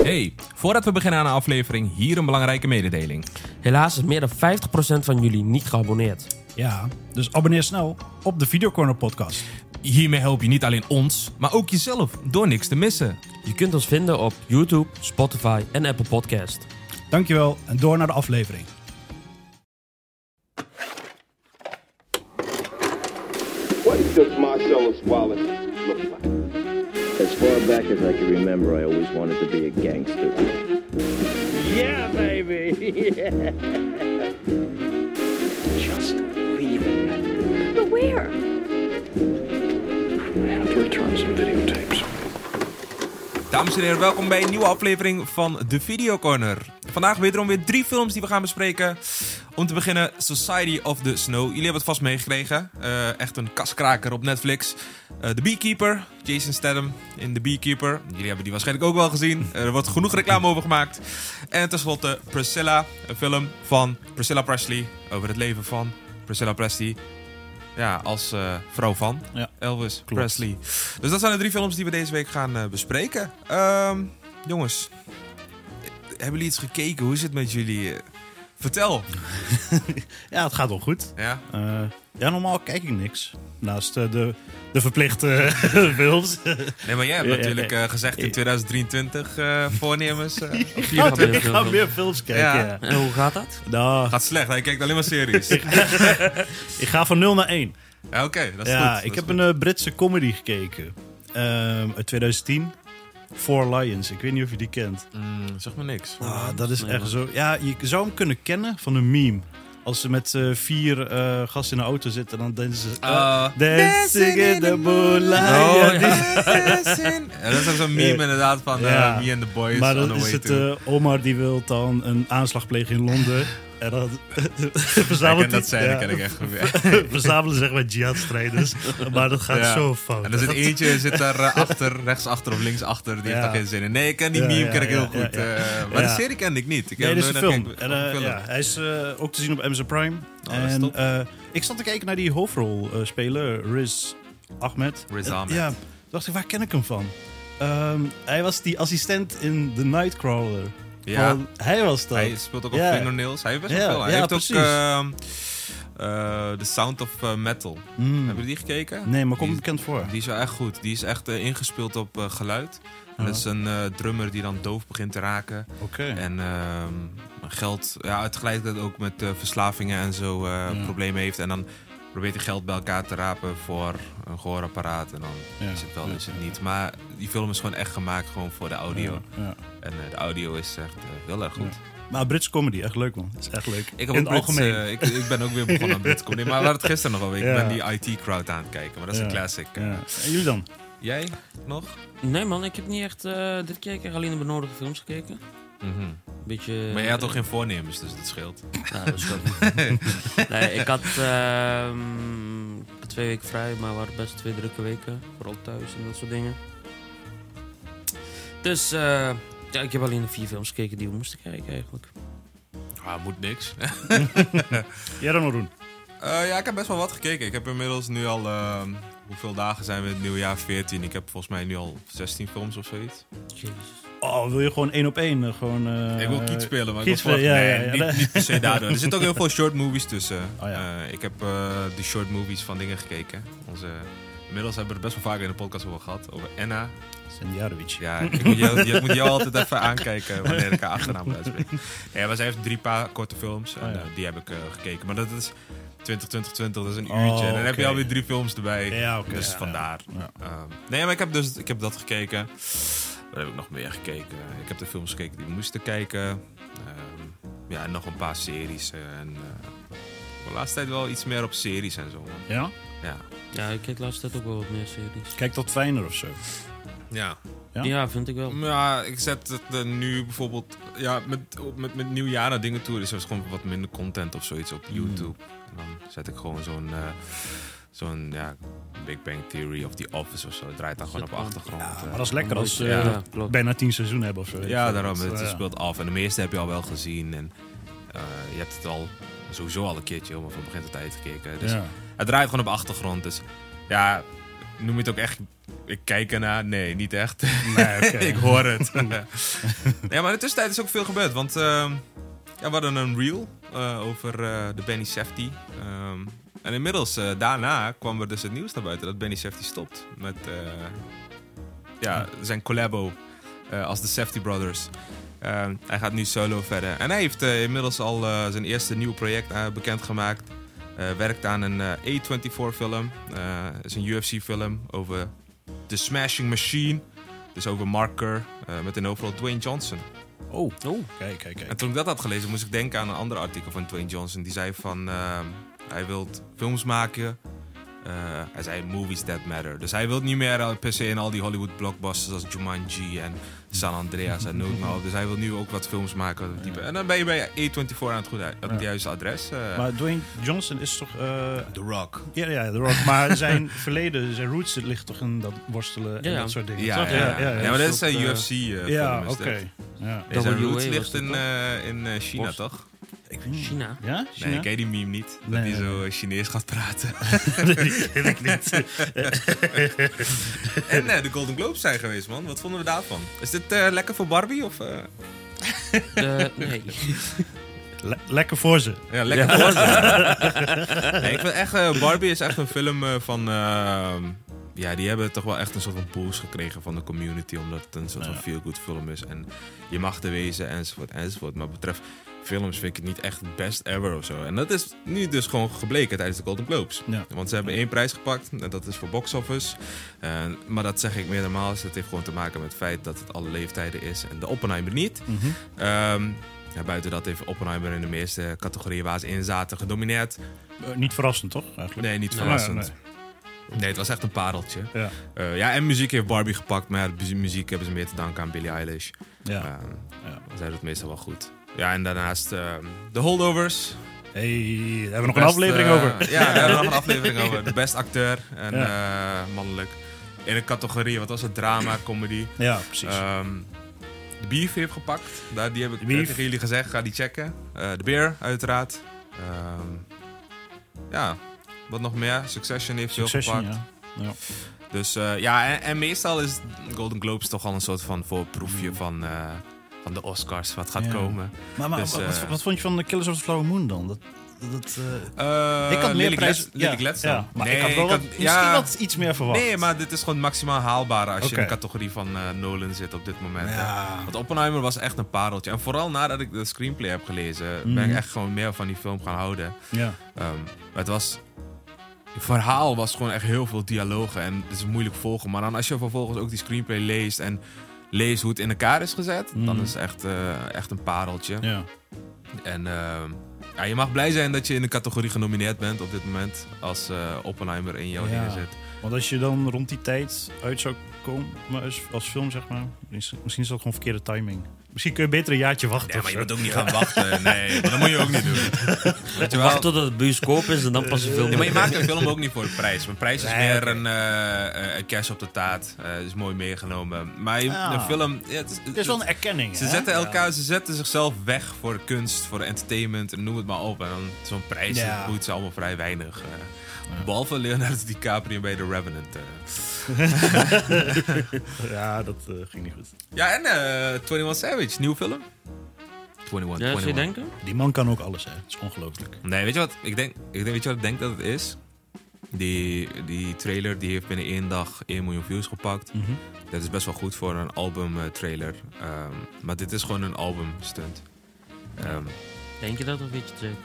Hey, voordat we beginnen aan de aflevering, hier een belangrijke mededeling. Helaas is meer dan 50% van jullie niet geabonneerd. Ja, dus abonneer snel op de Videocorner podcast. Hiermee help je niet alleen ons, maar ook jezelf door niks te missen. Je kunt ons vinden op YouTube, Spotify en Apple Podcast. Dankjewel en door naar de aflevering. What does Marcellus Wallace look like? As far back as I can remember, I always wanted to be a gangster. Yeah, baby. Just leave it. But where? I have to return some videotapes. Dames en heren, welkom bij een nieuwe aflevering van de Video Corner. Vandaag wederom weer drie films die we gaan bespreken. Om te beginnen Society of the Snow. Jullie hebben het vast meegekregen. Eh, echt een kaskraker op Netflix. Eh the Beekeeper, Jason Statham in The Beekeeper. Jullie hebben die waarschijnlijk ook wel gezien. Er wordt genoeg reclame over gemaakt. En tenslotte Priscilla, een film van Priscilla Presley. Over het leven van Priscilla Presley. Ja, als eh, vrouw van Ja. Elvis Presley. Dus dat zijn de drie films die we deze week gaan eh, bespreken. Ehm, jongens, eh, hebben jullie iets gekeken? Hoe is het met jullie? eh? Vertel. Ja, het gaat wel goed. Ja. Eh, ja, normaal kijk ik niks. Naast eh, de, de verplichte films. Nee, maar jij hebt Ja, ja, natuurlijk ja. eh, gezegd in 2023 eh, voornemens. eh, of je ik gaat, weer ga filmen. meer films kijken. Ja. Ja. En hoe gaat dat? Nou, gaat slecht, hij kijkt alleen maar series. ja, ik ga van 0 naar 1. Oké, dat is Ja, goed. dat ik heb is goed. een eh, Britse comedy gekeken. Ehm, uit 2010. Four Lions. Ik weet niet of je die kent. Mm, zeg maar niks. Ah, dat is echt zo. Ja, je zou hem kunnen kennen van een meme. Als ze met eh, vier eh gasten in de auto zitten, dan denken ze... "Ah, Eh, Dancing in the moonlight. Oh, Ja, ja. die- Ja, dat is ook zo'n meme Ja. inderdaad van eh, Ja. Me and the Boys Maar on dan the is way het to- eh, Omar die wil dan een aanslag plegen in Londen. En dan ik verzamelt ken dat zijn, ja, dat ken ik echt goed. Ja. verzamelen zeg maar jihadstrijders. Maar dat gaat Ja. zo fout. En er zit eentje zit daar eh, achter, rechtsachter of linksachter. Die heeft Ja. daar geen zin in. Nee, ik ken die Ja, meme ja, ken ik ja, heel ja, goed. ja. eh, maar Ja. de serie ken ik niet. Ik Nee, heb dit is een nooit film. gekeken- En, oh, eh, film. ja, hij is eh, ook te zien op Amazon Prime. Oh, dat is en top. eh, ik zat te kijken naar die hoofdrolspeler Riz Ahmed. Riz En, Ahmed. ja, toen dacht ik, waar ken ik hem van? Ehm, hij was die assistent in The Nightcrawler. Ja. Van- hij was dat. Hij speelt ook op eh, Ja. fingernails. Hij heeft best wel Ja, veel. Hij ja, heeft precies. ook ehm, eh, The Sound of eh, Metal. Mm. Hebben jullie die gekeken? Nee, maar komt Die- bekend voor. Die is wel echt goed. Die is echt eh, ingespeeld op eh, geluid. En Oh. dat is een eh, drummer die dan doof begint te raken. Oké. En ehm, geld, ja, tegelijkertijd ook met eh, verslavingen en zo eh, Mm. problemen heeft. En dan probeert hij geld bij elkaar te rapen voor een gehoorapparaat. En dan Ja, is het wel, ja, is het niet. Maar die film is gewoon echt gemaakt gewoon voor de audio. Ja. En eh, de audio is echt eh, heel erg goed. Maar Brits comedy, echt leuk man. is echt leuk. Ik, heb In ook het Brits, algemeen. eh, ik, ik ben ook weer begonnen aan Britcom. Nee, maar we hadden het gisteren nog alweer. Ja. Ik ben die IT-crowd aan het kijken. Maar dat is Ja, een classic. eh. ja. En jullie dan? Jij nog? Nee man, ik heb niet echt eh, dit keer ik heb alleen de benodigde films gekeken. Mhm. Beetje, Maar jij had toch geen voornemens, dus dat scheelt. Nou, dat is goed. nee, ik had ehm, ik had twee weken vrij, maar waren best twee drukke weken. Vooral thuis en dat soort dingen. Dus eh, ja, ik heb alleen de vier films gekeken die we moesten kijken eigenlijk. Ah, moet niks. Jij dan, Roen? Eh, ja, ik heb best wel wat gekeken. Ik heb inmiddels nu al. ehm, hoeveel dagen zijn we in het nieuwjaar? 14. Ik heb volgens mij nu al 16 films of zoiets. Jezus. Oh, wil je gewoon één op één? eh, Gewoon, eh, ik wil kiet spelen, maar kiet ik wil spelen, ja, nee, ja, ja. niet, niet per se daardoor. Er zitten ook heel veel short movies tussen. Oh, ja. Eh, ik heb eh, de short movies van dingen gekeken. Onze, inmiddels hebben we het best wel vaak in de podcast over gehad. Over Anna. Sendjarovic. Ja, ik moet jou, ik moet jou altijd even aankijken wanneer ik haar achternaam moet uitspreken. Ja, maar zij heeft drie paar korte films en Oh, ja. eh, die heb ik eh, gekeken. Maar dat is 20, 20, 20, dat is een Oh, uurtje. en dan heb je oké. alweer drie films erbij. Ja, oké. Dus Ja, vandaar. ja. Ehm, nee, maar ik heb, dus, ik heb dat gekeken. Wat heb ik nog meer gekeken? Ik heb de films gekeken die we moesten kijken. Ehm, ja, en nog een paar series. eh, en eh, de laatste tijd wel iets meer op series en zo. man. Ja? Ja. Ja, ik kijk de laatste tijd ook wel wat meer series. Kijk tot fijner of zo. ja. Ja? Ja, vind ik wel. Ja, ik zet het eh, nu bijvoorbeeld... Ja, met, op- met, met nieuwjaar naar dingen toe. Dus er is gewoon wat minder content of zoiets op YouTube. En dan zet ik gewoon zo'n... eh, zo'n, ja... Big Bang Theory of The Office of zo. Het draait dan gewoon op Zit gewoon- achtergrond. Ja, eh. Ah, maar dat is lekker als ze Ja, eh, klopt. bijna tien seizoenen hebben of zo. weet je eh, ja, wel. daarom. Het Ja. speelt af. En de meeste heb je al wel gezien. En eh, je hebt het al sowieso al een keertje helemaal van begin tot eind gekeken. Dus Ja. het draait gewoon op achtergrond. Dus ja... noem je het ook echt. Ik kijk ernaar. Nee, niet echt. Nee, oké. ik hoor het. nee, maar in de tussentijd is ook veel gebeurd. Want ehm, ja, we hadden een reel eh, over eh, de Benny Safety. Ehm, en inmiddels eh, daarna kwam er dus het nieuws naar buiten dat Benny Safety stopt met eh, ja, zijn collabo eh, als de Safety Brothers. Ehm, hij gaat nu solo verder. En hij heeft eh, inmiddels al eh, zijn eerste nieuw project eh, bekendgemaakt. Eh, werkt aan een eh, A24-film. eh, is een UFC-film over The Smashing Machine. Dus over Mark Kerr eh, met in overal Dwayne Johnson. Oh, kijk, kijk, kijk. En toen ik dat had gelezen, moest ik denken aan een ander artikel van Dwayne Johnson. Die zei van, ehm, hij wil films maken. Eh, hij zei, movies that matter. Dus hij wil niet meer eh, per se in al die Hollywood blockbusters als Jumanji en San Andreas en noem maar op. Dus hij wil nu ook wat films maken. Type. En dan ben je bij A24 aan het goede uit. Het juiste adres. eh. Maar Dwayne Johnson is toch... eh, The Rock. ja, ja, The Rock. Maar zijn verleden, zijn roots ligt toch in dat worstelen Ja, en ja. dat soort dingen. ja, toch? ja, ja, ja, maar dat is Dat, een eh, UFC eh, Ja, film oké. is dat. Dus Ja. Deze WA roots was ligt dat in, toch? eh, in eh, China, Worst- toch? China. Ja? Nee, China? ik ken die meme niet. Dat Nee. hij zo eh, Chinees gaat praten. ken ik niet. En eh, de Golden Globes zijn geweest, man. Wat vonden we daarvan? Is dit eh, lekker voor Barbie? Of, eh? De- nee. Le- lekker voor ze. Ja, lekker voor ze. nee, ik vind echt, eh, Barbie is echt een film eh, van... eh, ja, die hebben toch wel echt een soort van boost gekregen van de community. Omdat het een soort van feel-good film is. En je mag er wezen, enzovoort, enzovoort. Maar wat betreft films vind ik het niet echt best ever of zo. En dat is nu dus gewoon gebleken tijdens de Golden Globes. Ja. Want ze hebben één prijs gepakt. En dat is voor box office. Eh, maar dat zeg ik meermaals. Dat heeft gewoon te maken met het feit dat het alle leeftijden is. En de Oppenheimer niet. Mhm. Ehm, ja, buiten dat heeft Oppenheimer in de meeste categorieën waar ze in zaten gedomineerd. Eh, niet verrassend, toch? Eigenlijk. Nee, niet verrassend. Nee, het was echt een pareltje. Ja. Eh, ja, en muziek heeft Barbie gepakt, maar mu- muziek hebben ze meer te danken aan Billie Eilish. Ja. Ehm, Ja. Zij doet het meestal wel goed. Ja, en daarnaast ehm, de Holdovers. Hey, daar hebben we nog een Best, aflevering eh, over. Ja, daar hebben we nog een aflevering over. De best acteur en eh, mannelijk. In een categorie, wat was het? Drama, comedy. Ja, precies. Ehm, de Beef heeft gepakt. Daar, die heb ik De Beef. tegen jullie gezegd. Ga die checken. Eh, de Beer, uiteraard. Ehm, ja, wat nog meer? Succession heeft veel Succession, gepakt. ja. ja. Dus eh, ja, en, en meestal is Golden Globes toch al een soort van voorproefje van, eh, van de Oscars. Wat gaat Mm. Ja. komen. Maar, maar Dus, wat, eh, wat, wat vond je van de Killers of the Flower Moon dan? Dat, dat, eh, Eh, ik had meer Lily prijs- Glads- Lily ja, Gladstone. ja, maar Nee, ik had wel wat- misschien ja. wat iets meer verwacht. Nee, maar dit is gewoon maximaal haalbaar als je Oké. in de categorie van eh, Nolan zit op dit moment. hè. Ja. Want Oppenheimer was echt een pareltje. En vooral nadat ik de screenplay heb gelezen, ben Mhm. ik echt gewoon meer van die film gaan houden. Ja. Ehm, het was. Het verhaal was gewoon echt heel veel dialogen en het is moeilijk volgen. Maar dan als je vervolgens ook die screenplay leest en leest hoe het in elkaar is gezet, dan is het echt, eh, echt een pareltje. Mhm. Ja. En ehm, ja, je mag blij zijn dat je in de categorie genomineerd bent op dit moment als eh, Oppenheimer in jouw Ja. dingen zit. Want als je dan rond die tijd uit zou komen maar als, als film, zeg maar, is- misschien is dat gewoon verkeerde timing. Misschien kun je beter een jaartje wachten. Ja, of maar je zo. moet ook niet gaan wachten. Nee, maar dat moet je ook niet doen. Weet je wel? Wacht totdat het bioscoop is en dan pas de film. Ja, maar je maakt een film ook niet voor de prijs. Mijn prijs is Nee, meer oké. een, eh, eh, een kerst op de taart. Eh, is mooi meegenomen. Maar je- Ah. een film... ja, het is, Het is wel een erkenning. ze hè? zetten Ja. elkaar, ze zetten zichzelf weg voor kunst, voor entertainment en noem het maar op. En dan zo'n prijs, Ja. dat boeit ze allemaal vrij weinig. eh. Behalve Leonardo DiCaprio bij The Revenant. eh. Ja, dat eh, ging niet goed. Ja, en eh 21 Savage, nieuw film. 21, Ja, zou je 21. denken? Die man kan ook alles, hè? Het is ongelooflijk. Nee, weet je wat? Ik denk, ik denk, weet je wat ik denk dat het is? Die, die trailer die heeft binnen één dag 1 miljoen views gepakt. Dat is best wel goed voor een album eh, trailer. Ehm, maar dit is gewoon een album stunt. Ehm, Denk je dat of weet je het zeker?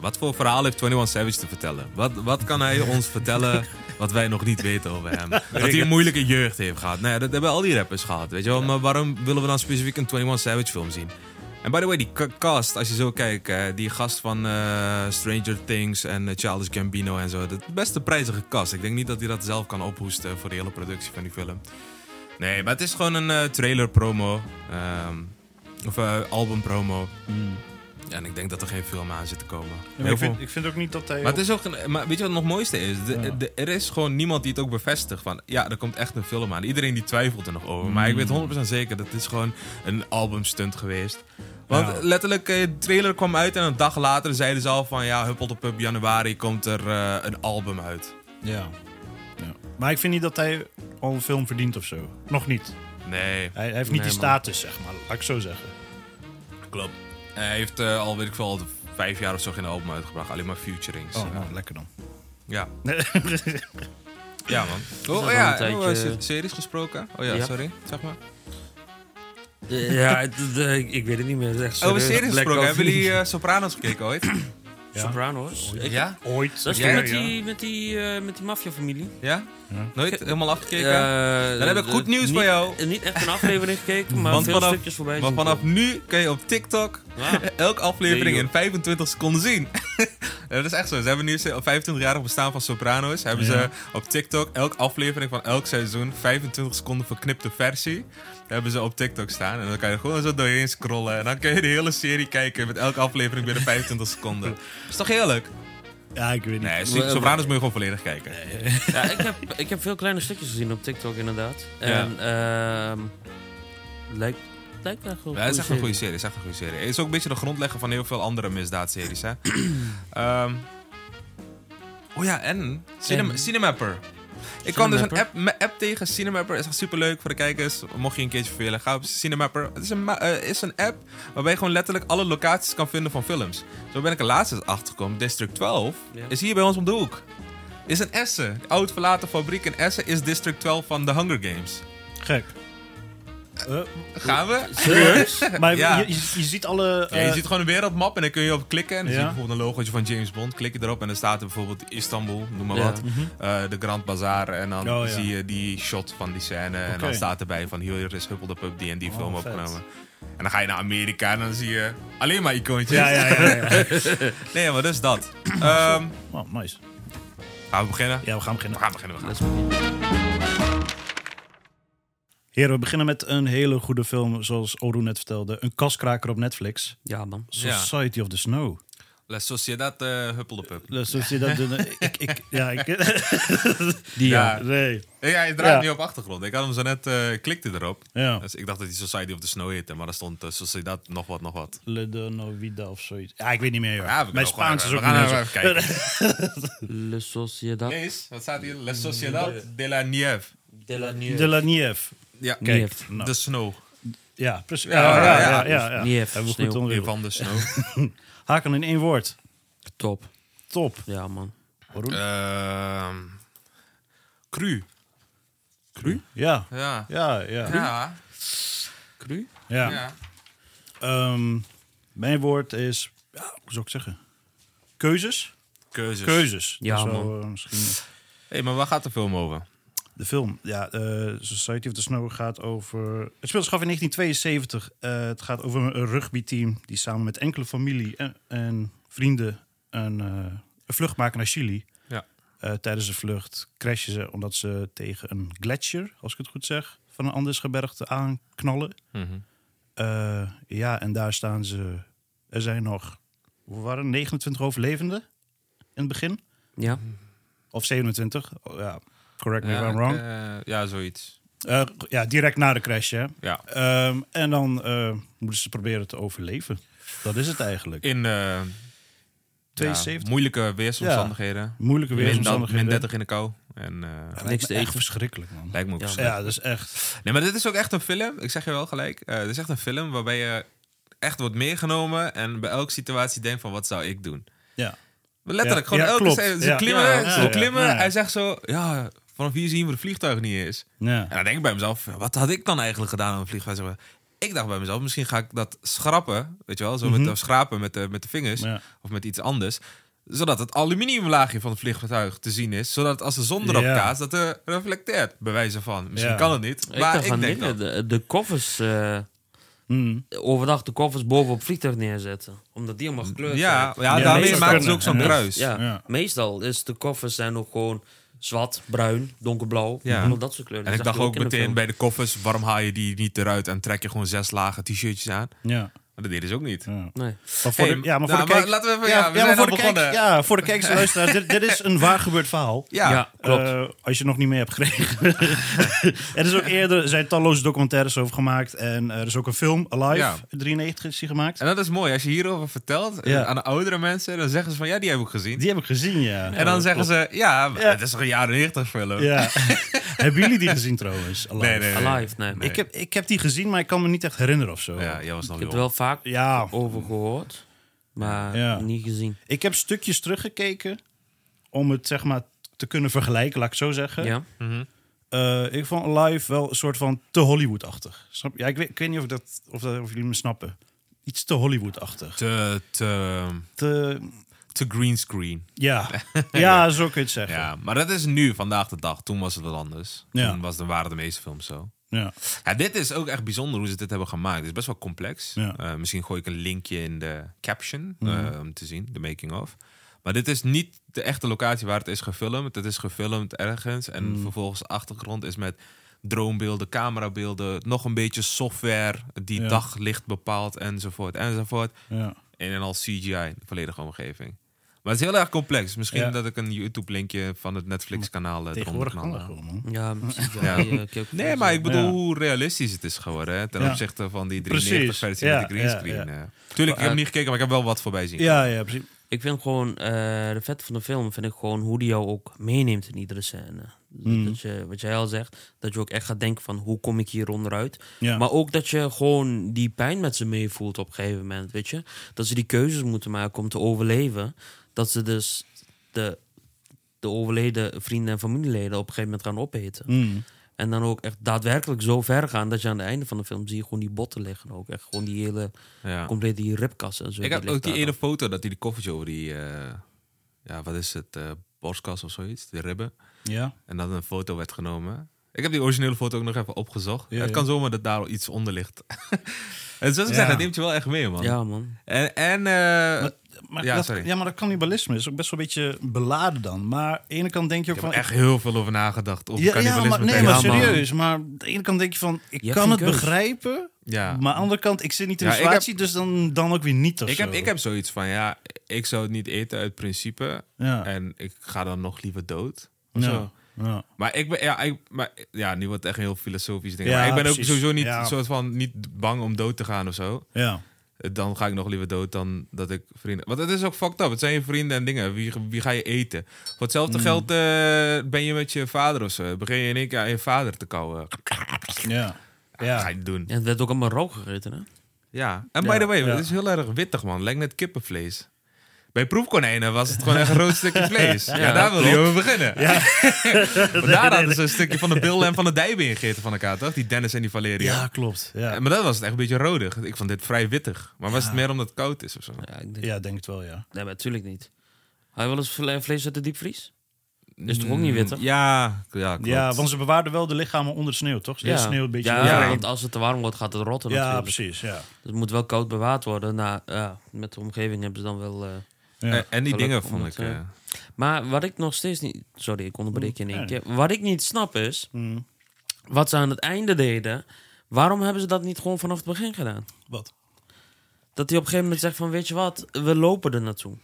wat voor verhaal heeft 21 Savage te vertellen? Wat, wat kan hij ons vertellen wat wij nog niet weten over hem? Dat hij een moeilijke jeugd heeft gehad. Nou ja, dat hebben al die rappers gehad, weet je wel. Maar waarom willen we dan specifiek een 21 Savage film zien? En by the way, die ca- cast, als je zo kijkt, eh, die gast van eh, Stranger Things en eh, Charles Gambino en zo. Dat is best een prijzige cast. Ik denk niet dat hij dat zelf kan ophoesten voor de hele productie van die film. Nee, maar het is gewoon een eh, trailer promo. ehm, of eh, album promo. Ja, en ik denk dat er geen film aan zit te komen. Heel Mm. ik, veel- vind, ik vind ook niet dat hij. maar, het is ook, een- maar weet je wat het nog mooiste is? De, de- er is gewoon niemand die het ook bevestigt. Van, ja, er komt echt een film aan. Iedereen die twijfelt er nog over. Maar ik weet 100% zeker dat het is gewoon een albumstunt geweest. Want Ja. letterlijk, eh, de trailer kwam uit en een dag later zeiden ze al van... Ja, huppelt op hup, januari komt er eh, een album uit. Ja. Maar ik vind niet dat hij al een film verdient of zo. Nog niet. Nee, Hij, hij heeft niet Nee, die man. status, zeg maar. Laat ik zo zeggen. klopt. Hij heeft eh, al, weet ik veel, al vijf jaar of zo geen album uitgebracht. Alleen maar featurings. Oh, Ja. nou, lekker dan. ja. Ja, man. Oh, al ja, een tijdje- over se- series gesproken. Oh ja, Ja. sorry. Zeg maar. Ja, het- eh, ik, ik weet het niet meer. Het is echt Over serieus. series Black Oh, gesproken. Ops. Hebben jullie eh, Sopranos gekeken ooit? Ja. Sopranos? Ik- Ja? Ooit. Oh, Dat is Ja, toch met ja. die, met die, eh, met die maffiafamilie? Ja? Nooit helemaal afgekeken? Eh, Dan heb ik eh, goed nieuws niet- voor jou. eh, Niet echt een aflevering gekeken, maar Want veel vanaf- stukjes voorbij maar zien vanaf nu kun je op TikTok Ja. elke aflevering Nee, in 25 seconden zien. dat is echt zo. Ze hebben nu ze- op 25-jarig bestaan van Sopranos. Hebben ze op TikTok elke aflevering van elk seizoen 25 seconden verknipte versie. Hebben ze op TikTok staan. En dan kan je er gewoon zo doorheen scrollen. En dan kun je de hele serie kijken met elke aflevering binnen 25 seconden. Is toch heerlijk? Ja, ik weet niet. Nee, Maar- Sopranos moet je gewoon volledig kijken. Ja, ik, heb, ik heb veel kleine stukjes gezien op TikTok inderdaad. En ehm lijkt, lijkt echt wel Ja, het is echt een goede serie. Het is echt een goede serie. Het is ook een beetje de grondlegger van heel veel andere misdaadseries, hè. Ehm, oh ja, en, Cinema, En? Cinemapper. Ik kan dus een app, Cinemapper? me- app tegen Cinemapper. Is echt superleuk voor de kijkers. Mocht je een keertje vervelen, ga op Cinemapper. Het is een, ma- eh, is een app waarbij je gewoon letterlijk alle locaties kan vinden van films. Zo ben ik er laatst eens achtergekomen. District 12 Ja. is hier bij ons om de hoek. Is in Essen. De Oud verlaten fabriek in Essen is District 12 van The Hunger Games. Gek. Eh, Gaan we? maar Ja. je, je, je ziet alle... Ja, je eh, ziet gewoon een wereldmap en dan kun je op klikken. En dan Ja. zie je bijvoorbeeld een logootje van James Bond. Klik je erop en dan staat er bijvoorbeeld Istanbul, noem maar Ja. wat. Eh, de Grand Bazaar. En dan Mhm. Oh, ja. zie je die shot van die scène. En dan Oké. staat erbij van hier is Huppel de Pub die en die Oh, film vet. opgenomen. En dan ga je naar Amerika en dan zie je alleen maar icoontjes. ja, ja, ja. ja. Nee, maar dat is dat. Ehm, Oh, nice. gaan we beginnen? Ja, we gaan beginnen. We gaan beginnen, we gaan. Heren, we beginnen met een hele goede film, zoals Oru net vertelde. Een kaskraker op Netflix. Ja, man. Society of the Snow. La Sociedad eh, Huppel de Pub. Dus dat je dat- ik, ik, ja, ik, Die, Ja. nee. Ja, hij draait Ja. nu op achtergrond. Ik had hem zo net, eh, klikte erop. Ja. Dus ik dacht dat hij Society of the Snow heette, maar daar stond eh, Sociedad nog wat, nog wat. Le de Novida of zoiets. Ja, ik weet niet meer. Joh. Ja, we Mijn kunnen gewoon Spaans is even- ook we gaan niet even meer zo. even kijken. Le Sociedad Lees, wat staat hier? La Sociedad de la Nieve. de la De La Nieve. Ja, kijk. Nieve. Nou, De snow. ja, precies. Ja, Ja, ja, ja, ja. ja. ja, ja. Nieve, Hebben we sneeuw. goed onderwerp. Van de snow. Haken in één woord. Top. Top. Ja, man. Ehm, cru. Cru? Ja, Ja. ja, ja. Ja. Cru? ja. ja. Ehm, mijn woord is, ja, hoe zou ik zeggen? Keuzes? Keuzes. Keuzes. Ja, Dat zou, man. eh, misschien hey, maar waar gaat de film over? De film, ja, eh, Society of the Snow gaat over... Het speelt zich af in 1972. Eh, het gaat over een rugbyteam die samen met enkele familie en, en vrienden een, eh, een vlucht maken naar Chili. Ja. Eh, tijdens de vlucht crashen ze omdat ze tegen een gletsjer, als ik het goed zeg, van een Andesgebergte aanknallen. Eh, ja, en daar staan ze. Er zijn nog, hoe waren het, 29 overlevenden in het begin? Ja. Mm. Of 27? Oh, ja, correct me Ja, if I'm ik, wrong. eh, ja, zoiets. Eh, ja, direct na de crash, hè? Ja. Ehm, en dan eh, moeten ze proberen te overleven. Dat is het eigenlijk. In eh, ja, 72. moeilijke weersomstandigheden. Moeilijke Min, dan, weersomstandigheden. min 30 in de kou. En eh, Lijkt Niks me te echt eten. verschrikkelijk, man. lijkt me ook Ja. verschrikkelijk. Ja, dat is echt... Nee, maar dit is ook echt een film. Ik zeg je wel gelijk. eh dit is echt een film waarbij je echt wordt meegenomen en bij elke situatie denkt van wat zou ik doen. Ja. Maar letterlijk, Ja, gewoon ja, elke klopt. scène- Ze Ja. klimmen, Ja, ze ja, klimmen. ja. Hij zegt zo, ja, vanaf hier zien we het vliegtuig niet eens. ja. En dan denk ik bij mezelf, wat had ik dan eigenlijk gedaan aan een vliegtuig? Zeg maar, Ik dacht bij mezelf, misschien ga ik dat schrappen, weet je wel, zo met de, schrapen met de, met de vingers Mhm. Ja. of met iets anders zodat het aluminiumlaagje van het vliegtuig te zien is. Zodat als de zon erop Ja. kaatst, dat er reflecteert. Bij wijze van. Misschien Ja. kan het niet. Ik Maar dacht ik, aan denk dingen. dat. De, de koffers... eh, Mm. overdag de koffers boven op het vliegtuig neerzetten. Omdat die allemaal gekleurd Ja, zijn. ja, Ja, daarmee meestal maken ze kunnen. ook zo'n Ja. kruis. Ja, Ja. meestal is de koffers zijn ook gewoon zwart, bruin, donkerblauw. Ja. allemaal dat soort kleuren. En ik Dat zag dacht je ook in de meteen film. bij de koffers, waarom haal je die niet eruit en trek je gewoon zes lagen t-shirtjes aan? Ja. Maar dat deden ze ook niet. Ja. Nee. Maar voor Hey, de, ja, maar voor nou, de kijk- maar laten we even- ja, ja, we zijn maar voor al de kijk- begonnen. ja, voor de kijkers en luisteraars, dit, dit is een waar gebeurd verhaal. Ja. Ja, klopt. Eh, als je het nog niet mee hebt gekregen. er is ook eerder er zijn talloze documentaires over gemaakt. En eh, er is ook een film, Alive, Ja. 93 is die gemaakt. En dat is mooi. Als je hierover vertelt eh, Ja. aan de oudere mensen, dan zeggen ze van ja, die heb ik gezien. Die heb ik gezien, ja. en dan zeggen ze, ja, maar Ja. het is toch een jaren 90 film. ja. hebben jullie die gezien trouwens? Alive? Ah, Nee, nee, nee. Alive, nee. Nee. Ik, heb, ik heb die gezien, maar ik kan me niet echt herinneren of zo. Ja, jij was nog Ik heb er jong. wel vaak Ja. over gehoord, maar Ja. niet gezien. Ik heb stukjes teruggekeken om het zeg maar te kunnen vergelijken, laat ik het zo zeggen. Ja. Eh, ik vond Alive wel een soort van te Hollywood-achtig. Snap je? Ja, ik, weet, ik weet niet of, ik dat, of, dat, of jullie me snappen. Iets te Hollywood-achtig. Te, te, Te, te greenscreen. ja. ja, zo kun je het zeggen. Ja, maar dat is nu, vandaag de dag. Toen was het wel anders. Ja. Toen was, dan waren de meeste films zo. Ja. Ja, dit is ook echt bijzonder hoe ze dit hebben gemaakt. Het is best wel complex. Ja. Mhm. Eh, misschien gooi ik een linkje in de caption eh, om te zien, de making of. Maar dit is niet de echte locatie waar het is gefilmd. Het is gefilmd ergens en Mhm. vervolgens de achtergrond is met droombeelden, camerabeelden, nog een beetje software die Ja. daglicht bepaalt enzovoort enzovoort. Ja. En dan al CGI, de volledige omgeving. Maar het is heel erg complex. Misschien Ja. dat ik een YouTube-linkje van het Netflix-kanaal eh, eronder Tegenwoordig kan knal. dat gewoon, man. Ja, precies. Ja. Ja. die, eh, ik heb ook Nee, gezien. maar ik bedoel Ja. hoe realistisch het is geworden hè, ten Ja. opzichte van die Precies, 93 versie ja, met de greenscreen. ja, screen. ja. Tuurlijk, ik heb hem niet gekeken, maar ik heb wel wat voorbij zien. Ja, ja, precies. Ik vind gewoon, eh, de vet van de film vind ik gewoon hoe die jou ook meeneemt in iedere scène. Mm. Dat je, wat jij al zegt, dat je ook echt gaat denken van hoe kom ik hier onderuit. Ja. Maar ook dat je gewoon die pijn met ze meevoelt op een gegeven moment, weet je. Dat ze die keuzes moeten maken om te overleven. Dat ze dus de, de overleden vrienden en familieleden op een gegeven moment gaan opeten. Mm. En dan ook echt daadwerkelijk zo ver gaan dat je aan het einde van de film zie je gewoon die botten liggen. Ook echt gewoon die hele, Ja. complete die ribkas en zo. Ik had ligt ook die daar ene dan. foto dat hij die koffertje over die, eh, ja, wat is het, eh borstkas of zoiets, de ribben. Ja. En dat een foto werd genomen. Ik heb die originele foto ook nog even opgezocht. Ja, het ja. kan zomaar dat daar al iets onder ligt. en zoals ik Ja. zeg, het neemt je wel echt mee, man. Ja, man. En, en eh, Maar ja, dat, sorry. ja, maar dat cannibalisme is ook best wel een beetje beladen dan. Maar aan de ene kant denk je ook ik heb van... er echt heel veel over nagedacht. Over ja, ja, maar, cannibalisme nee, tegen- maar Ja, man. serieus. Maar aan de ene kant denk je van, ik Je hebt kan geen het keus. begrijpen. Ja. Maar aan de andere kant, ik zit niet in Ja, de ik heb- situatie, dus dan, dan ook weer niet of Ik heb, zo. ik heb zoiets van, ja, ik zou het niet eten uit principe. Ja. En ik ga dan nog liever dood. Of Ja. zo. Ja. Maar ik ben, ja, ik, maar, ja, nu wordt het echt een heel filosofisch ding. Ja, maar ik ben ook precies. sowieso niet, Ja. soort van, niet bang om dood te gaan of zo. Ja. Dan ga ik nog liever dood dan dat ik vrienden... Want het is ook fucked up. Het zijn je vrienden en dingen. Wie, wie ga je eten? Voor hetzelfde Mm. geld eh, ben je met je vader of zo. Begin je in één keer aan je vader te kauwen. Ja. Dat ga Ja. je niet doen. Ja, het werd ook allemaal rauw gegeten, hè? Ja. En by the way, ja. het is heel erg wittig, man. Lijkt net kippenvlees. Bij proefkonijnen was het gewoon echt een rood stukje vlees. Ja, daar wil je over beginnen. maar daar hadden ze een stukje van de billen en van de dijben ingegeten van elkaar, toch? Die Dennis en die Valeria. Ja, klopt. Eh, Ja. Maar dat was het echt een beetje rodig. Ik vond dit vrij wittig. Maar was het meer omdat het koud is of zo? Ja, ik denk, ja, denk het wel, ja. Nee, maar natuurlijk niet. Hij je wel eens vle- vlees uit de diepvries? Is toch ook niet wittig? Mm, Ja, ja, klopt. Ja, want ze bewaarden wel de lichamen onder de sneeuw, toch? Ze ja. sneeuw een beetje. Ja, Ja. want als het te warm wordt, gaat het rotten ja natuurlijk. precies. Ja. Dus het moet wel koud bewaard worden. Nou, ja, met de omgeving hebben ze dan wel... eh, Eh, En, die Gelukkig dingen om vond ik... het, eh, eh, Maar wat ik nog steeds niet... Sorry, ik onderbreek je in één Ja. keer. Wat ik niet snap is... Mm. Wat ze aan het einde deden... Waarom hebben ze dat niet gewoon vanaf het begin gedaan? Wat? Dat hij op een gegeven moment zegt van... Weet je wat, we lopen er naartoe.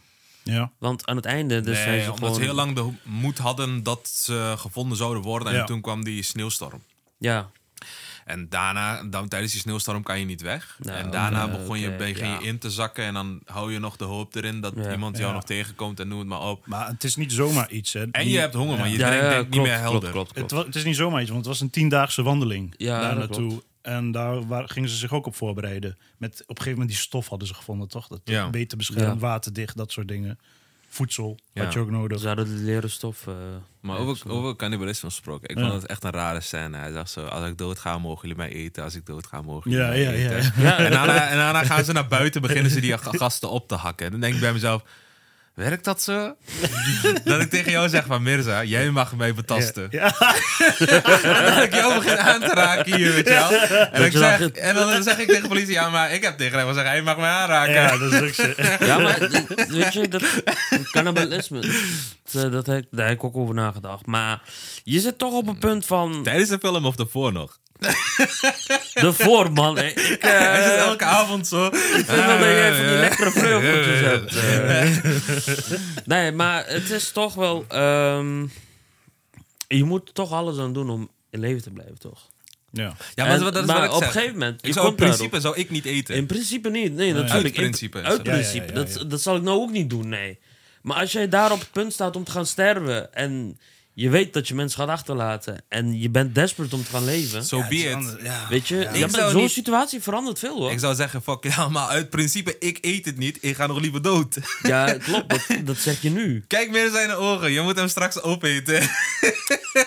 Ja. Want aan het einde... Dus zijn nee, ze omdat gewoon... ze heel lang de ho- moed hadden dat ze gevonden zouden worden. En Ja. toen kwam die sneeuwstorm. Ja, En daarna, dan, tijdens die sneeuwstorm kan je niet weg. Nou, en daarna oké, begon, je, oké, begin je ja. in te zakken. En dan hou je nog de hoop erin dat Ja. iemand jou Ja. nog tegenkomt en noem het maar op. Maar het is niet zomaar iets, hè. En Die- je hebt honger, maar je ja, drinkt ja, denk ik niet klopt, meer helder. Klopt, klopt, Het, klopt. wa- het is niet zomaar iets, want het was een tiendaagse wandeling Ja, daar dat naartoe. En daar waar, gingen ze zich ook op voorbereiden. Met op een gegeven moment die stof hadden ze gevonden, toch? Dat Ja. beter beschermd, Ja. waterdicht, dat soort dingen. Voedsel Ja. had je ook nodig. Ze hadden de leren stof. eh, Maar over, over cannibalisme gesproken. Ik vond het echt een rare scène. Hij zag zo, als ik dood ga, mogen jullie mij eten. Als ik dood ga, mogen jullie Ja, mij ja, eten. ja. En, daarna, en daarna gaan ze naar buiten, beginnen ze die ga- gasten op te hakken. En dan denk ik bij mezelf, werkt dat zo? dat ik tegen jou zeg van, Mirza, jij mag mij betasten. Ja. dat ik jou begin aan te raken hier, weet je wel. En, ik je dan zeg, gaat- en dan zeg ik tegen de politie, ja, maar ik heb tegen hem gezegd, hij mag mij aanraken. Ja, dat is ook zo. Ja, maar d- weet je, dat cannibalisme, dat, dat heb, daar heb ik ook over nagedacht. Maar je zit toch op een punt van... Tijdens de film of daarvoor nog? De voorman. hè. Ik eh, Hij zit elke avond zo. vind wel dat jij van die Eh, lekkere vleugeltjes eh, hebt. eh. nee, maar het is toch wel... ehm, je moet er toch alles aan doen om in leven te blijven, toch? Ja. Ja, maar, En- dat is wat maar ik op zeg. een gegeven moment, Ik je zou, in komt daarop. principe zou ik niet eten. In principe niet. Nee, natuurlijk. Uit principe In, is uit het. principe. Ja, ja, ja, ja. Dat, dat zal ik nou ook niet doen, nee. Maar als jij daar op het punt staat om te gaan sterven... en je weet dat je mensen gaat achterlaten... en je bent desperate om te gaan leven... Zo be it. weet je, ja, maar zou zo'n niet- situatie verandert veel, hoor. Ik zou zeggen, fuck ja, maar uit principe, ik eet het niet. Ik ga nog liever dood. Ja, klopt. Dat, dat zeg je nu. Kijk meer in zijn ogen. Je moet hem straks opeten.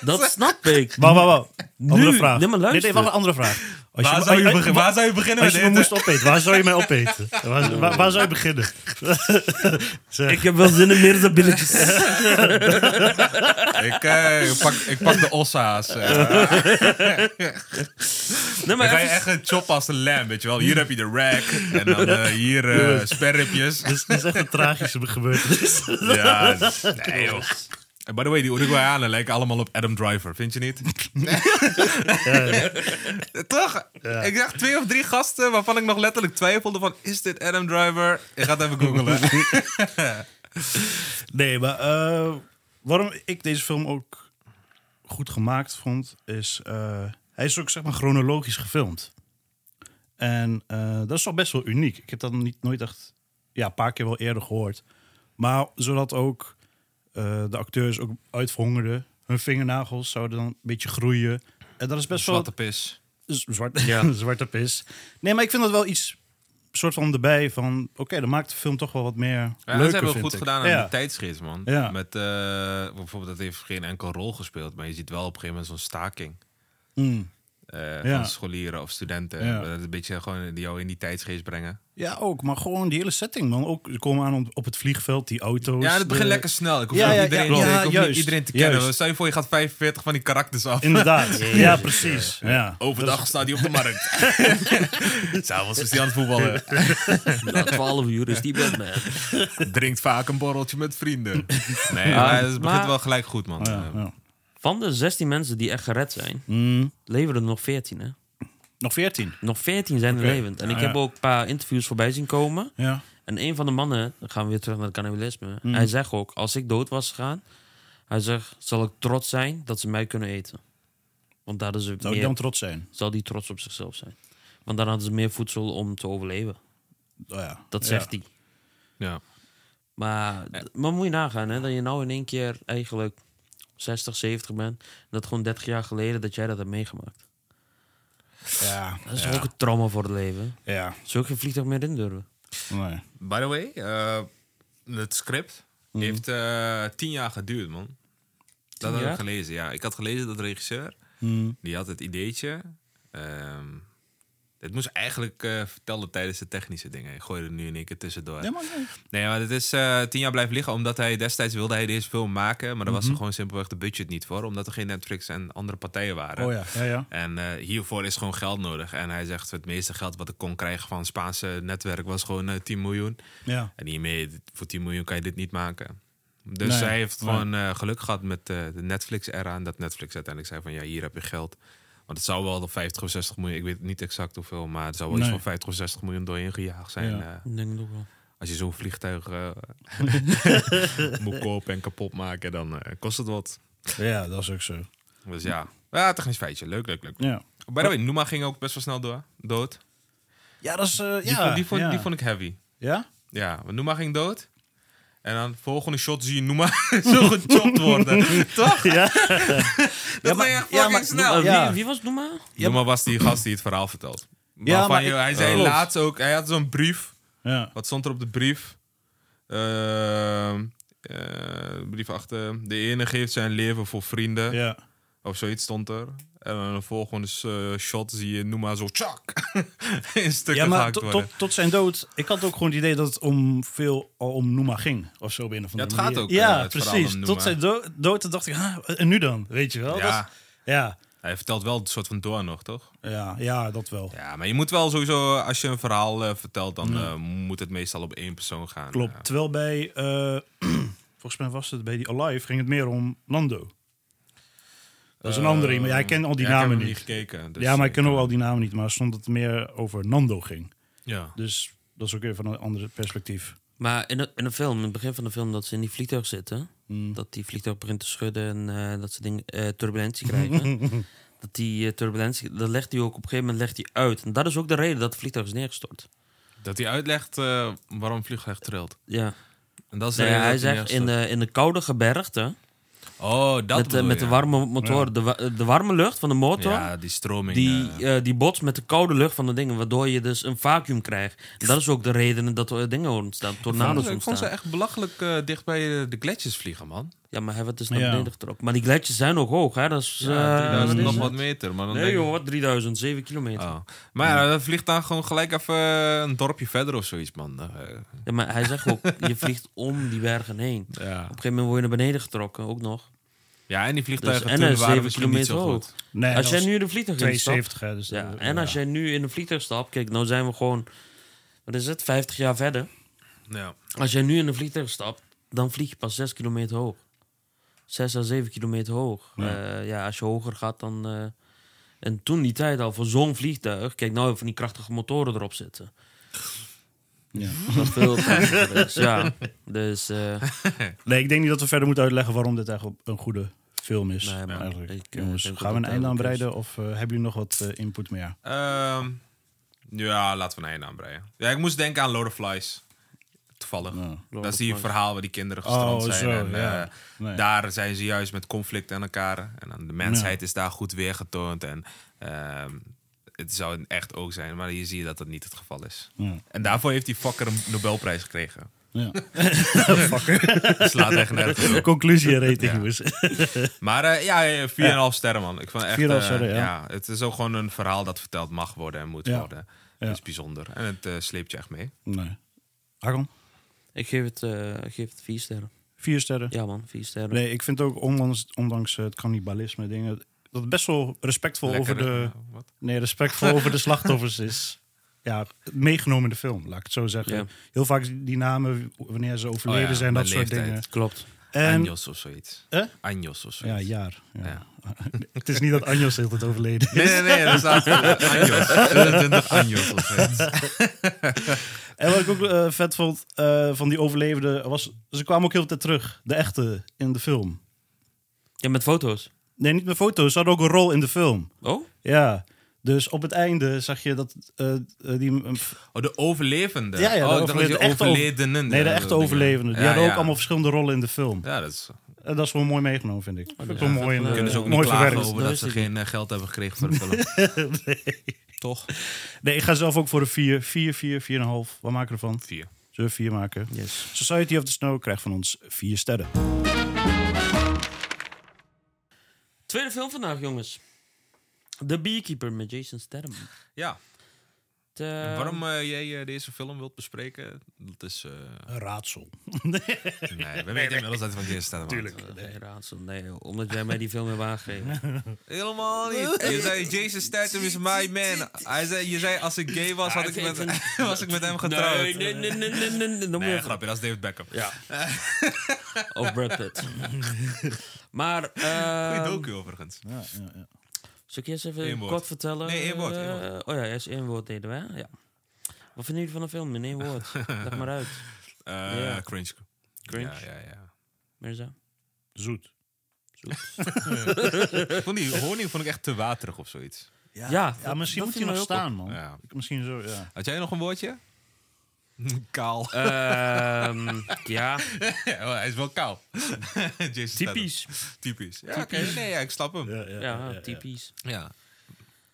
Dat snap ik. Wauw, wauw, wauw. Andere Nu, vraag. nee, maar luister. Nee, nee, wacht, een andere vraag. Als Waar me- zou je, als- begin- wa- waar zou je beginnen Als met je me eten? moest opeten, waar zou je mij opeten? Waar, waar, waar zou je beginnen? Zeg, Ik heb wel zin in meer dan billetjes. Ik, eh, ik pak, ik pak de ossa's. eh. Nee, dan ga maar je even- echt een chop als een lam, weet je wel. Hier heb je de rack. En dan eh, hier eh, sperripjes. dit, is, dit is echt een tragische gebeurtenis. Ja, nee joh. En by the way, die Uruguayanen lijken allemaal op Adam Driver, vind je niet? Toch? Ik zag twee of drie gasten waarvan ik nog letterlijk twijfelde van... Is dit Adam Driver? Ik ga het even googlen. Nee, maar eh, waarom ik deze film ook goed gemaakt vond, is eh, hij is ook zeg maar chronologisch gefilmd. En eh, dat is toch best wel uniek. Ik heb dat niet, nooit echt, ja, een paar keer wel eerder gehoord. Maar zodat ook eh, de acteurs ook uitverhongerden. Hun vingernagels zouden dan een beetje groeien. En dat is best wel Zwarte pis. Z- zwart, zwarte pis. Nee, maar ik vind dat wel iets soort van erbij van... Oké, dan maakt de film toch wel wat meer Ja, leuker, dat hebben we vind goed ik. gedaan aan ja. de tijdsgeest, man. Ja. Met eh, bijvoorbeeld, dat heeft geen enkel rol gespeeld. Maar je ziet wel op een gegeven moment zo'n staking. Mm. eh, Ja. Van scholieren of studenten. Ja. Dat het een beetje gewoon jou in die tijdsgeest brengen. Ja, ook. Maar gewoon die hele setting, man. Ook, ze komen aan op, op het vliegveld, die auto's. eh, Ja, het begint de- lekker snel. Ik hoef, Ja, niet ja, iedereen, ja, ik ja, hoef niet juist. iedereen te kennen. Juist. Stel je voor, je gaat 45 van die karakters af. Inderdaad. ja, precies. Ja. Overdag staat hij op de markt. S'avonds is hij aan het voetballen. Na 12 uur is die Batman. Drinkt vaak een borreltje met vrienden. Nee, maar het begint maar- wel gelijk goed, man. Ja, ja. Van de 16 mensen die echt gered zijn, Mm. leveren er nog 14, hè? Nog veertien. Nog 14 zijn Oké. er levend. En Ja, ik heb ja. ook een paar interviews voorbij zien komen. Ja. En een van de mannen, dan gaan we weer terug naar het cannibalisme. Mm. Hij zegt ook, als ik dood was gegaan, hij zegt, zal ik trots zijn dat ze mij kunnen eten. Want daar is het Zou ik meer- dan trots zijn? zal die trots op zichzelf zijn. Want dan hadden ze meer voedsel om te overleven. Oh, ja. Dat zegt hij. Ja. Maar, maar moet je nagaan, hè, dat je nou in één keer eigenlijk 60, 70 bent. En dat gewoon 30 jaar geleden dat jij dat hebt meegemaakt. Ja. Dat is toch ook een trauma voor het leven. Ja. Zul je geen vliegtuig meer indurven? Nee. By the way, eh, het script Mhm. heeft eh, tien jaar geduurd, man. Dat had jaar? ik gelezen, ja. Ik had gelezen dat de regisseur, Mhm. die had het ideetje. ehm, het moest eigenlijk eh, vertellen tijdens de technische dingen. Ik gooi er nu in één keer tussendoor. Ja, maar nee. Nee, maar het is eh, tien jaar blijven liggen omdat hij destijds wilde hij deze film maken. Maar daar was Mhm. er gewoon simpelweg de budget niet voor. Omdat er geen Netflix en andere partijen waren. Oh ja. Ja, ja. En eh, hiervoor is gewoon geld nodig. En hij zegt het meeste geld wat ik kon krijgen van het Spaanse netwerk was gewoon eh, 10 miljoen. Ja. En hiermee, dit- voor 10 miljoen kan je dit niet maken. Dus Nee, hij heeft nee. gewoon eh, geluk gehad met eh, de Netflix-era. En dat Netflix uiteindelijk zei van, ja, hier heb je geld. Want het zou wel de 50 of 60 miljoen, ik weet niet exact hoeveel... maar het zou wel iets Nee. van 50 of 60 miljoen doorheen gejaagd zijn... Ja. eh, Ik denk het ook wel. als je zo'n vliegtuig eh, moet kopen en kapot maken, dan eh, kost het wat. Ja, dat is ook zo. Dus ja, ja technisch feitje. Leuk, leuk, leuk. Ja. By the way, Noema ging ook best wel snel door, dood. Ja, dat is... eh, Die, ja. vond, die, vond, ja. die vond ik heavy. Ja? Ja, want Noema ging dood. En dan de volgende shot zie je Noema zo gechopt worden. Toch? Ja. Dat ging echt fucking ja, maar snel. Eh, Ja. wie, wie was het Noema? Noema was die gast die het verhaal vertelt. Ja, Waarvan maar je- ik- hij zei klopt. laatst ook, hij had zo'n brief Ja. Wat stond er op de brief? Ehm, eh, brief achter. De ene geeft zijn leven voor vrienden. Ja. Of zoiets stond er. En dan de volgende eh, shot zie je, noem maar zo, tjak. in stukken Ja, maar gehakt tot, worden. tot, tot zijn dood. Ik had ook gewoon het idee dat het om veel al om Noema ging. Of zo op een of andere het gaat manier. ook, eh, Ja, het verhaal precies. om Noema. Tot zijn do- dood dan dacht ik, ah, en nu dan? Weet je wel? Ja. Dat is- ja, Hij vertelt wel een soort van door nog, toch? ja, ja, dat wel. Ja, maar je moet wel sowieso, als je een verhaal eh, vertelt, dan eh, moet het meestal op één persoon gaan. Klopt. Ja. Terwijl bij, eh, volgens mij was het bij die Alive, ging het meer om Lando. Dat is een andere, maar ja, ik ken al die ja, ik heb namen hem niet. gekeken. dus ja, maar ik ken ook eh, al die namen niet. Maar stond dat het meer over Nando ging. Ja. Dus dat is ook weer van een ander perspectief. Maar in de, in de film, in het begin van de film, dat ze in die vliegtuig zitten. Hmm. Dat die vliegtuig begint te schudden en eh, dat ze ding, eh, turbulentie krijgen. dat die eh, turbulentie, dat legt hij ook op een gegeven moment legt hij uit. En dat is ook de reden dat het vliegtuig is neergestort. Dat hij uitlegt eh, waarom het vliegtuig trilt. Ja. En dat is de Nee, reden hij dat zegt in neerstort. de, in de koude gebergte, Oh, dat met, de- bedoel met de je. warme motor, de, wa- de warme lucht van de motor. Ja, die stroming. Die, eh, eh, die bots met de koude lucht van de dingen, waardoor je dus een vacuüm krijgt. En dat is ook de reden dat er dingen ontstaan, ik tornado's vond- ik vond ze ontstaan. echt belachelijk eh, dicht bij eh, de gletsjers vliegen, man. Ja, maar hij werd dus naar Ja. beneden getrokken. Maar die gletsjers zijn ook hoog, hè? Dat is, Ja, eh, 3000 wat nog is wat het? meter. Maar dan Nee, denk ik- jongen, wat? 3000, 7 kilometer. Oh. Maar ja, dat vliegt dan gewoon gelijk even eh, een dorpje verder of zoiets, man. Eh, Ja, maar hij zegt ook, je vliegt om die bergen heen. Op een ja. gegeven moment word je naar beneden getrokken, ook nog. ja, en die Dus, vliegtuigen en hij toen is waren 7 misschien niet kilometer zo hoog. goed. Nee, als dat jij was nu in de vliegtuig instapt... 72, hè, dus Ja, dat- en als jij nu in de vliegtuig stapt... Kijk, nou zijn we gewoon... Wat is het? 50 jaar verder. Ja. Als jij nu in een vliegtuig stapt, dan vlieg je pas 6 kilometer hoog. 6 à 7 kilometer hoog. Ja, ja als je hoger gaat dan. eh, en toen die tijd al voor zo'n vliegtuig. Kijk, nou van die krachtige motoren erop zitten. Ja. Dat veel krachtiger is. Ja, dus. eh, Nee, ik denk niet dat we verder moeten uitleggen waarom dit eigenlijk een goede film is. Nee, maar eigenlijk. ik, eh, Jongens, denk gaan we dat een het einde aan duidelijk is. breiden of eh, hebben jullie nog wat eh, input meer? Ehm, ja, laten we een einde aanbreien. Ja, ik moest denken aan Lord of Flies. Toevallig. dat is die verhaal waar die kinderen gestrand Oh, zijn. zo, en, eh, ja. Nee. Daar zijn ze juist met conflict aan elkaar. En dan de mensheid is daar goed weer getoond. En ehm, het zou echt ook zijn. Maar hier zie je dat dat niet het geval is. Ja. En daarvoor heeft die fucker een Nobelprijs gekregen. Ja. Dat slaat echt nergens op. Conclusie en rating, Ja. jongens. Maar eh, ja, 4,5 sterren, man. Ik vond echt, 4,5 eh, sterren, ja. Het is ook gewoon een verhaal dat verteld mag worden en moet Ja. worden. Ja. Dat is bijzonder. En het eh, sleept je echt mee. Nee. Hakan, ik geef het, eh, ik geef het vier sterren. vier sterren. Ja, man, vier sterren. Nee, ik vind ook ondanks, ondanks eh, het cannibalisme dingen dat het best wel respectvol Lekker, over de eh, wat? nee, respectvol over de slachtoffers is. Ja, meegenomen in de film, laat ik het zo zeggen. Ja. Heel vaak die namen wanneer ze overleden Oh ja, zijn, dat bij soort leeftijd. dingen. Klopt. En Anjos of zoiets. Eh? Anjos of ja, zoiets. jaar. Ja. Ja. het is niet dat Anjos heel het overleden is. Nee, nee, nee, dat staat Anjos. 24 Anjos of zoiets. En wat ik ook eh, vet vond eh, van die overlevenden was, ze kwamen ook heel de tijd terug, de echte in de film. Ja, met foto's. Nee, niet met foto's, ze hadden ook een rol in de film. Oh? Ja. Dus op het einde zag je dat eh, eh, die eh, Oh, de overlevende. Ja, ja, oh, de ik dacht dat je overlevende. De echte over- overledenen. Nee, de eh, echte dingen. overlevenden. Die Ja, hadden ook ja. allemaal Eh, verschillende rollen in de film. Ja, dat is, En dat is wel mooi meegenomen, vind ik. Vind ik wel Ja, mooi. dat en, kunnen ze eh, ook niet mooi klagen verwerkt. over Dat dat is ze het geen eh, geld hebben gekregen voor de film. Toch? Nee, ik ga zelf ook voor de 4. 4, 4, 4,5. Wat maken we ervan? Vier. Zullen we 4 maken? Yes. Society of the Snow krijgt van ons 4 sterren. Tweede film vandaag, jongens. The Beekeeper met Jason Statham. Ja, Het, Ehm. eh, waarom eh, jij eh, deze film wilt bespreken, dat is... eh, Een raadsel. Nee, we weten inmiddels dat het van Kirsten staat. Nee, raadsel. Nee, joh. omdat jij mij die film hebt aangegeven. Helemaal niet. Je zei, Jason Statham is my man. Hij zei, je zei, als ik gay was, had ik Ah, ik met, vind- was ik met hem getrouwd. Nee, nee, nee, nee, nee, nee, nee. Dan moet Nee, je- grapje, dat is David Beckham. Ja. of Brad Pitt. maar, Oh, Goeie eh docu overigens. zal ik je eerst even Eén woord. kort vertellen? Nee, één woord, eh, één oh ja, eerst één woord deden we, hè? Ja. Wat vinden jullie van de film in één woord? Leg maar uit. Eh, Ja. Cringe. Cringe, Ja, ja, ja. Mirza. Zoet. Ik vond die honing vond ik echt te waterig of zoiets. Ja, Ja, dat- misschien dat moet hij viel nog mij ook staan, man. Ja. Misschien zo, ja. Had jij nog een woordje? Kaal. Ehm, ja, Ja, hij is wel kaal. Jason Statham. typisch. Typisch. Ja, oké. Nee, ja, ik snap hem. ja, Ja, typisch. Ja.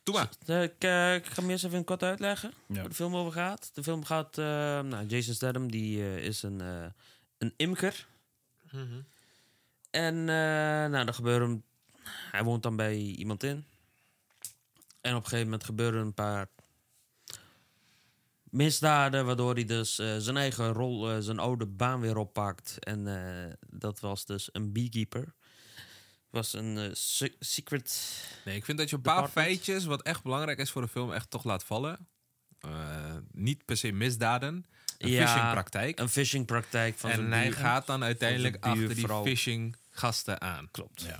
Doe maar. Eh, Ik, eh, ik ga hem eerst even een kort uitleggen Ja. waar de film over gaat. De film gaat... eh, nou, Jason Statham die, eh, is een, eh, een imker. En eh nou, er gebeuren... Hij woont dan bij iemand in. En op een gegeven moment gebeuren een paar misdaden... waardoor hij dus eh, zijn eigen rol, eh, zijn oude baan weer oppakt. En eh, dat was dus een beekeeper. Was een eh, se- secret... Nee, ik vind dat je een paar Department. feitjes, wat echt belangrijk is voor de film, echt toch laat vallen. Eh, niet per se misdaden. Een Ja, phishingpraktijk. Een phishingpraktijk van zijn en hij buur- gaat dan uiteindelijk achter die buurvrouw. phishing gasten aan. Klopt. Ja. Ja,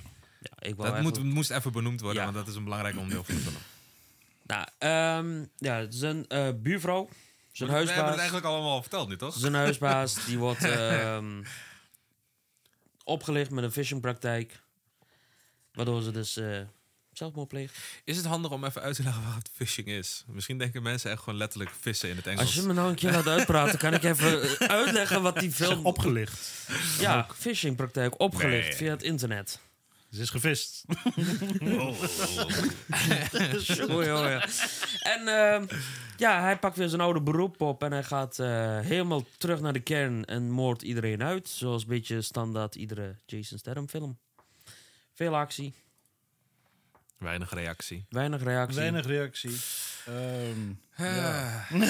ik wou Dat eigenlijk- moet, moest even benoemd worden, Ja. want dat is een belangrijk onderdeel van de film. Nou, ehm, ja, zijn eh, buurvrouw, zijn We hebben het huisbaas, eigenlijk allemaal al verteld nu, toch? zijn huisbaas, die wordt ehm, opgelicht met een phishingpraktijk. Waardoor ze dus eh zelfmoord pleegt. Is het handig om even uit te leggen wat phishing is? Misschien denken mensen echt gewoon letterlijk vissen in het Engels. Als je me nou een keer laat uitpraten, kan ik even eh, uitleggen wat die film... Opgelicht. ja, phishingpraktijk opgelicht Nee. via het internet. Ze is gevist. Oh, Oei, oei, oei. En ehm, ja, hij pakt weer zijn oude beroep op en hij gaat eh, helemaal terug naar de kern en moordt iedereen uit. Zoals een beetje standaard iedere Jason Statham film. Veel actie, Weinig reactie. weinig reactie. Weinig reactie. Ehm,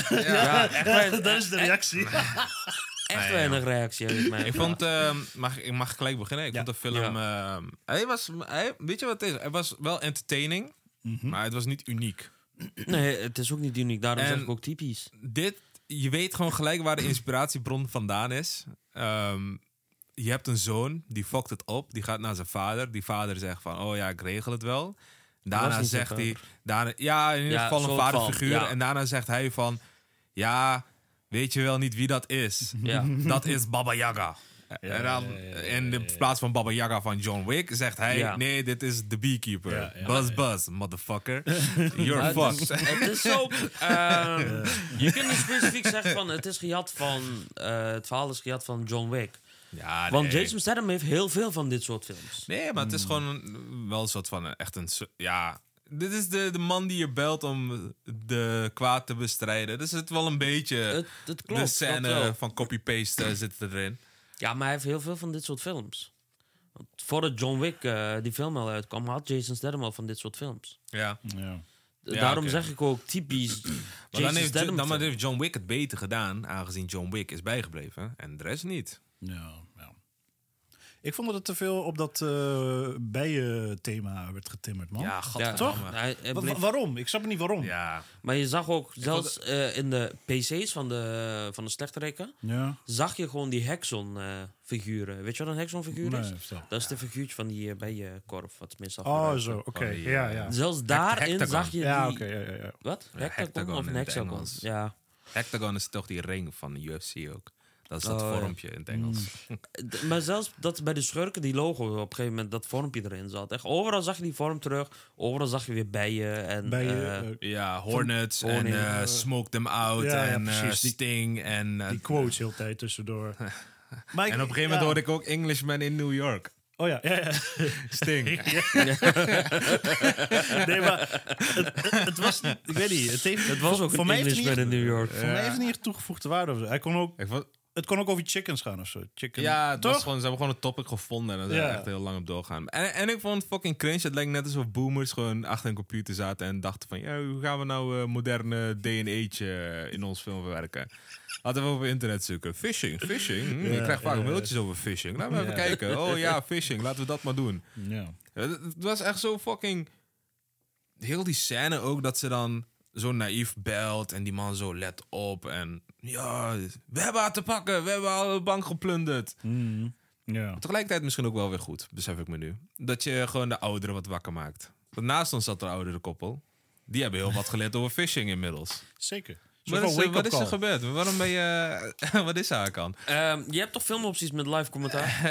Ja, echt, wei- dat is de reactie. echt Nee, weinig reactie heb ik mij. Ik vond, ehm, mag, ik mag gelijk beginnen. Ik Ja. vond de film. ehm, hij was, hij, weet je wat het is? Het was wel entertaining, Mhm. maar het was niet uniek. Nee, het is ook niet uniek, daarom En- zeg ik ook typisch. dit, je weet gewoon gelijk waar de inspiratiebron vandaan is. Ehm, je hebt een zoon, die fokt het op. Die gaat naar zijn vader. Die vader zegt van, oh ja, ik regel het wel. was Daarna niet zegt zijn hij... vader. Daarna, ja, in ieder Ja, geval een soort vaderfiguur. van, ja. En daarna zegt hij van, ja, weet je wel niet wie dat is? Ja. Dat is Baba Yaga. en dan, in de plaats van Baba Yaga van John Wick zegt hij... Ja. nee, dit is de beekeeper. Ja, ja. Buzz Buzz, motherfucker. You're Maar het, is, fucked. het is zo. ehm, Je kunt niet specifiek zeggen van het is gejat van. eh, het verhaal is gejat van John Wick. Ja, Want Ah, nee. Jason Statham heeft heel veel van dit soort films. Nee, maar het is gewoon een- wel een soort van eh, echt een. so- Ja. Dit is de, de man die je belt om de kwaad te bestrijden. Dus het wel een beetje. Het- het klopt, de dat scène wel. van copy-paste eh, zit erin. Ja, maar hij heeft heel veel van dit soort films. Want voordat John Wick eh, die film al uitkwam, had Jason Statham al van dit soort films. Ja. Ja. D- Ja, Daarom oké. zeg ik ook typisch Maar dan Jason heeft, Jo- Statham. dan maar film. heeft John Wick het beter gedaan, aangezien John Wick is bijgebleven en de rest niet. Ja, ja. Ik vond dat het te veel op dat eh bijen-thema werd getimmerd, man. Ja, Ja, gadverdamme. Ja, hij- hij Wa- bleef- wa- waarom? Ik snap niet waarom. ja. Maar je zag ook, zelfs eh, in de PC's van de, van de slechterikken, Ja. zag je gewoon die Hexon-figuren. Weet je wat een Hexon-figuur is? Nee, vertel. Dat is de figuurtje van die eh, bijenkorf, wat meestal Oh, gebruikt zo. wordt. Oké. Oh, die, Ja, eh, ja. Zelfs daarin hectagon. zag je die... Ja, oké. ja, ja, ja. Wat? Hectagon, hexagon of in een het hexagon? Engels. Ja. Hectagon is toch die ring van de UFC ook. Dat is dat Oh, ja. vormpje in het Engels. D- Maar zelfs dat bij de schurken, die logo, op een gegeven moment dat vormpje erin zat. Echt, overal zag je die vorm terug. Overal zag je weer bijen. En, Bijen, eh, eh, Ja, Hornets en Hornet. eh, Smoke Them Out Ja, ja, en eh, precies. Die- Sting en eh, die quotes heel de tijd tussendoor. Maar ik- En op een gegeven moment ja. hoorde ik ook Englishman in New York. Oh ja, ja, ja. Sting. Nee, maar het, het, het was niet... Ik weet niet. Het, heeft, het was voor- ook voor een mij heeft het Englishman niet- in New York. Voor mij heeft het niet echt toegevoegde waarde. Of zo. Hij kon ook, Ik vond- het kon ook over chickens gaan of zo. Chicken. ja, het was toch? gewoon, ze hebben gewoon een topic gevonden. En daar zijn we Ja. echt heel lang op doorgaan. En, en ik vond het fucking cringe. Het lijkt net alsof boomers gewoon achter een computer zaten. En dachten van, ja, hoe gaan we nou eh, moderne DNA'tje eh, in ons film verwerken? Laten we over internet zoeken. Phishing, phishing. Hm, je krijgt vaak mailtjes over phishing. Laten we even kijken. Oh ja, phishing. Laten we dat maar doen. Ja. Ja, Het het was echt zo fucking. Heel die scène ook dat ze dan zo naïef belt en die man zo let op en. Ja, we hebben haar te pakken, we hebben al de bank geplunderd. ja. Tegelijkertijd misschien ook wel weer goed, besef ik me nu. Dat je gewoon de ouderen wat wakker maakt. Want naast ons zat er een oudere koppel. Die hebben heel wat geleerd over phishing inmiddels. Zeker. Wat is, er- wat is er gebeurd? gebeurd? Waarom ben je... wat is haar kant? Ehm, je hebt toch filmopties met live commentaar?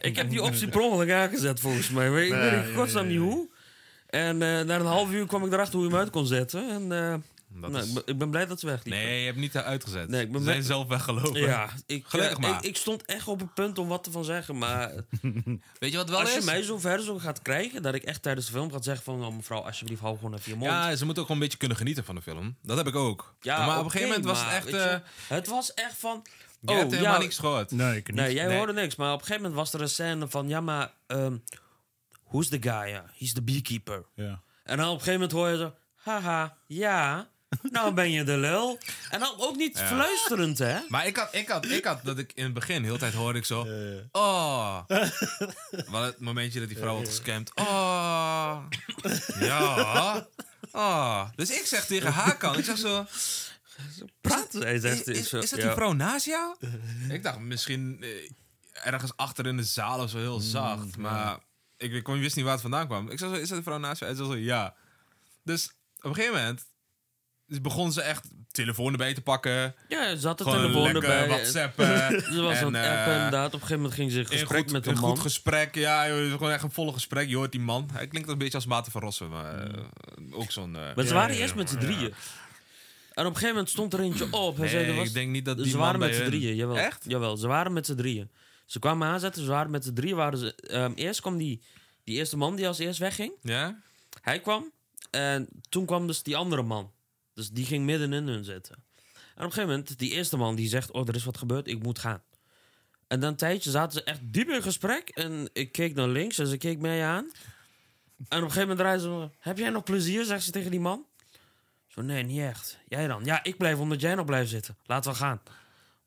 ik heb die optie per ongeluk aangezet volgens mij. Maar ik weet Ja, in ja, godsnaam ja, niet ja. hoe. En eh, na een half uur kwam ik erachter hoe je hem uit kon zetten. En, eh, Dat nou, is- ik ben- ik ben blij dat ze wegliep. Nee, je hebt niet haar uitgezet. Nee, ik ben Ze zijn met- zelf weggelopen. Ja, ik, Gelukkig eh, maar. Ik, ik stond echt op het punt om wat te van zeggen, maar Weet je wat wel als je is? mij zo ver zo gaat krijgen dat ik echt tijdens de film gaat zeggen van oh, mevrouw alsjeblieft hou gewoon even je mond. Ja, ze moeten ook gewoon een beetje kunnen genieten van de film. Dat heb ik ook. maar op een oké, gegeven moment was het maar, echt... weet eh je, het was echt van je hebt oh helemaal ja, niks gehoord. Nee, ik niet. nee jij Nee. hoorde niks, maar op een gegeven moment was er een scène van ja maar ehm who's the guy? Ja, he's the beekeeper. Ja. En dan op een gegeven moment hoor je zo haha ja nou ben je de lul en dan ook niet fluisterend hè. Maar ik had, ik, had, ik had dat ik in het begin, heel de tijd hoorde ik zo... Oh. Wel het momentje dat die vrouw wordt gescamd. Oh. Ja. Oh. Dus ik zeg tegen haar kan, ik zeg zo... Praat, hij Is, zegt is, zo, is dat ja. die vrouw naast jou? Hmm, Ik dacht misschien eh, ergens achter in de zaal of zo heel zacht. Maar Ik, ik wist niet waar het vandaan kwam. Ik zei zo, is dat een vrouw naast je? Hij zei zo, ja. Dus op een gegeven moment dus begon ze echt telefoon erbij te pakken. Ja, ze had de Gewoon telefoon lekker erbij. whatsappen. Ze was En, aan het appen, eh, inderdaad. Op een gegeven moment ging ze in Een gesprek goed, met een een man. goed gesprek, ja, joh, gewoon echt een volle gesprek. Je hoort die man. Hij klinkt een beetje als Maarten van Rossum. maar, eh, ook zo'n... eh, Hmm. maar ze ja, waren ja, eerst met z'n ja. drieën. En op een gegeven moment stond er eentje op. Hij zei, Nee, er was, ik denk niet dat die ze man waren bij met z'n hun- drieën, jawel. Echt? Jawel, ze waren met z'n drieën. Ze kwamen aanzetten, ze waren met z'n drieën. Waren ze, ehm, eerst kwam die, die eerste man die als eerst wegging. Ja? Hij kwam en toen kwam dus die andere man. Dus die ging midden in hun zitten. En op een gegeven moment, die eerste man die zegt... oh, er is wat gebeurd, ik moet gaan. En dan een tijdje zaten ze echt diep in gesprek. En ik keek naar links en ze keek mij aan. En op een gegeven moment draaide ze me... heb jij nog plezier, zegt ze tegen die man. Zo, nee, niet echt. Jij dan? Ja, ik blijf omdat jij nog blijft zitten. Laten we gaan.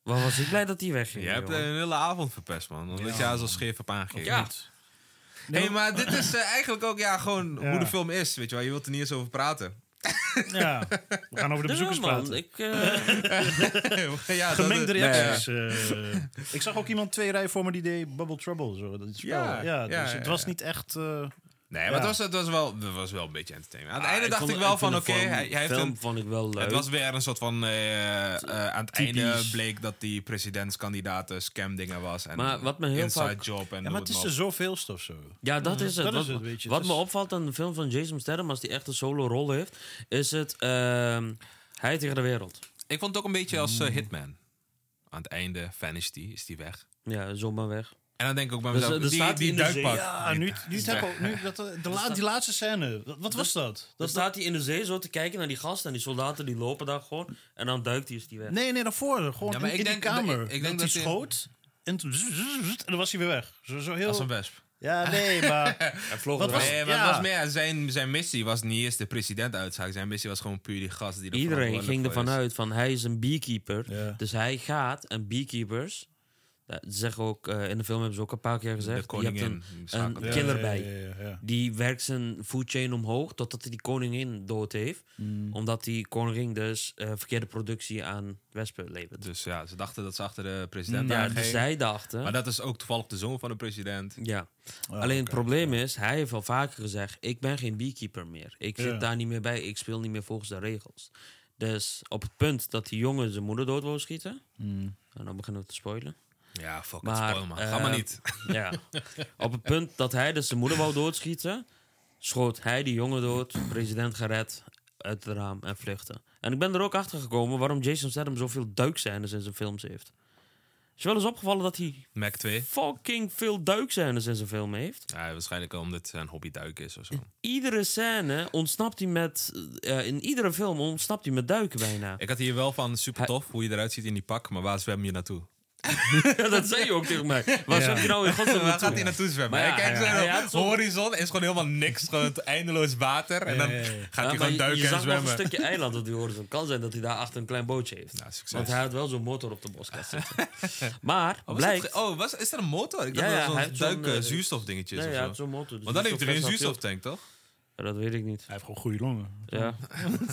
Wat was ik blij dat die wegging. Jij hebt jongen. eh, een hele avond verpest, man. Omdat jij zo scheef hebt aangegeven. Ja. hey, maar dit is eh, eigenlijk ook ja, gewoon Ja. hoe de film is. Weet je, wel. je wilt er niet eens over praten. Ja, we gaan over de Dus bezoekers man, praten. ik... eh, ja, dat- Gemengde Nee, reacties. eh. ik zag ook iemand twee rijen voor me die deed Bubble Trouble. Zo, dat spel. Ja, Ja, ja, dus ja, het was ja. niet echt... eh, Nee, maar Ja. het, was, het, was wel, het was wel een beetje entertainment. Aan het einde Ah, ik dacht vond- ik wel vond van, de oké, film- hij, hij heeft film een... vond ik wel leuk. Het was weer een soort van... eh, eh, aan het Typisch. einde bleek dat die presidentskandidaat een scam dingen was. En Maar wat me heel inside vaak- job en ja, maar het dus- is er zoveelste of zo. Ja, dat is het. dat wat is het, weet je. wat Het me is- opvalt aan de film van Jason Statham, als die echt een solo rol heeft, is het ehm, hij tegen de wereld. Ik vond het ook een beetje als Hmm. eh, Hitman. Aan het einde vanished die, is die weg. Ja, zomaar weg. En dan denk ik ook bij Dus, mezelf, eh, er die, staat die in de zee. duikpak. Ja, nu, nu, heb ik- nu dat, de la- die laatste scène. Wat, wat was dat? Dan dat staat hij in de zee zo te kijken naar die gasten en die soldaten die lopen daar gewoon en dan duikt hij is die weg. nee, nee, daarvoor. Gewoon Ja, maar in, ik in denk- die kamer. ik- ik denk dat, dat hij hij- schoot. En, toen zzz, zzz, zzz, en dan was hij weer weg. Zo, zo heel... Als een wesp. Ja, nee, maar... Hij vloog Wat eruit. was- Nee, maar het ja. was meer, zijn, zijn missie was niet eens de president uitzaak. Zijn missie was gewoon puur die gast die er Iedereen ging verantwoordelijk ervan voor is. uit van hij is een beekeeper. Ja. Dus hij gaat en beekeepers. Dat zeggen ook, eh, in de film hebben ze ook een paar keer gezegd. je hebt een, koningin, een schakelt. killer bij. Ja, ja, ja, ja. Die werkt zijn food chain omhoog totdat hij die koningin dood heeft. Omdat die koningin dus eh, verkeerde productie aan wespen levert. Dus ja, ze dachten dat ze achter de president ja, ja, dus zij dachten. Maar dat is ook toevallig de zoon van de president. Ja. Alleen het probleem is, hij heeft al vaker gezegd: ik ben geen beekeeper meer. Ik zit Ja. daar niet meer bij. Ik speel niet meer volgens de regels. Dus op het punt dat die jongen zijn moeder dood wil schieten. En dan beginnen we te spoilen. Ja, fuck het, Maar, spoil maar. Ga maar eh, niet. Ja. Op het punt dat hij dus zijn moeder wou doodschieten, schoot hij die jongen dood, president gered, uit het raam en vluchtte. En ik ben er ook achter gekomen waarom Jason Statham zoveel duikscènes in zijn films heeft. Is je wel eens opgevallen dat hij Mac 2. fucking veel duikscènes in zijn film heeft? Ja, waarschijnlijk omdat het zijn hobby duiken is of zo. Iedere scène ontsnapt hij met... eh, in iedere film ontsnapt hij met duiken bijna. Ik had hier wel van super tof hoe je eruit ziet in die pak, maar waar zwem je naartoe? dat zei je ook tegen mij. Waar Ja. zit hij nou in godsnaam Waar gaat naartoe? hij naartoe zwemmen? Maar Hij ja, kijkt ja, zo hij naar de had zo'n- horizon, is gewoon helemaal niks. Gewoon het eindeloos water. En dan Ja, ja, ja. gaat hij maar gewoon je- je duiken en zag nog zwemmen. Nou, een stukje eiland op die horizon. Kan zijn dat hij daar achter een klein bootje heeft. Ja, succes. Want hij had wel zo'n motor op de boskast zitten. maar Oh, was blijkt... dat ge- oh was, is dat een motor? Ik dacht Ja, ja, dat hij het heeft zo'n zo'n, duiken eh, zuurstofdingetjes nee, of hij zo. had zo'n motor. dus Want dan heeft hij een best wel veel- zuurstoftank, toch? Ja, dat weet ik niet. Hij heeft gewoon goede longen. Ja.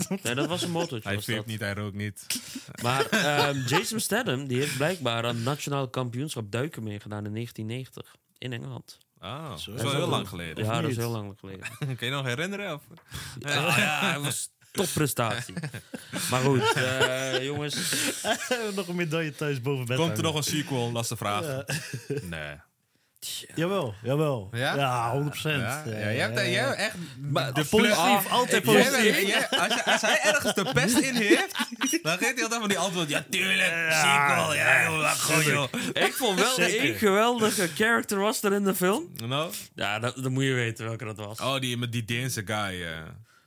nee, dat was een motortje. Hij was dat. veert niet, hij rookt niet. Maar ehm, Jason Statham die heeft blijkbaar aan het nationaal kampioenschap duiken meegedaan in 1990. In Engeland. Ah, dat is Hij wel is heel ook lang een- geleden. Ja, dat is niet? heel lang geleden. Kun je nog herinneren? Of? Ja, oh ja, dat was topprestatie. maar goed, eh, jongens. nog een medaille thuis boven bed. Komt er hangen. nog een sequel? Dat is de vraag. Nee. Jawel, jawel. Ja? Ja, 100 procent. Ja, ja, jij hebt, jij hebt echt... Maar de Ah, positief, plug- altijd Jij bent- positief. jij- als, je- als hij ergens de pest in heeft, dan geeft hij altijd van die antwoord. Ja, tuurlijk, Ja, sequel. Ja, joh, wacht gewoon, joh. ik vond wel Zeker. één geweldige character was er in de film. Nou? Ja, dat, dan moet je weten welke dat was. Oh, die, met die Deense guy. eh.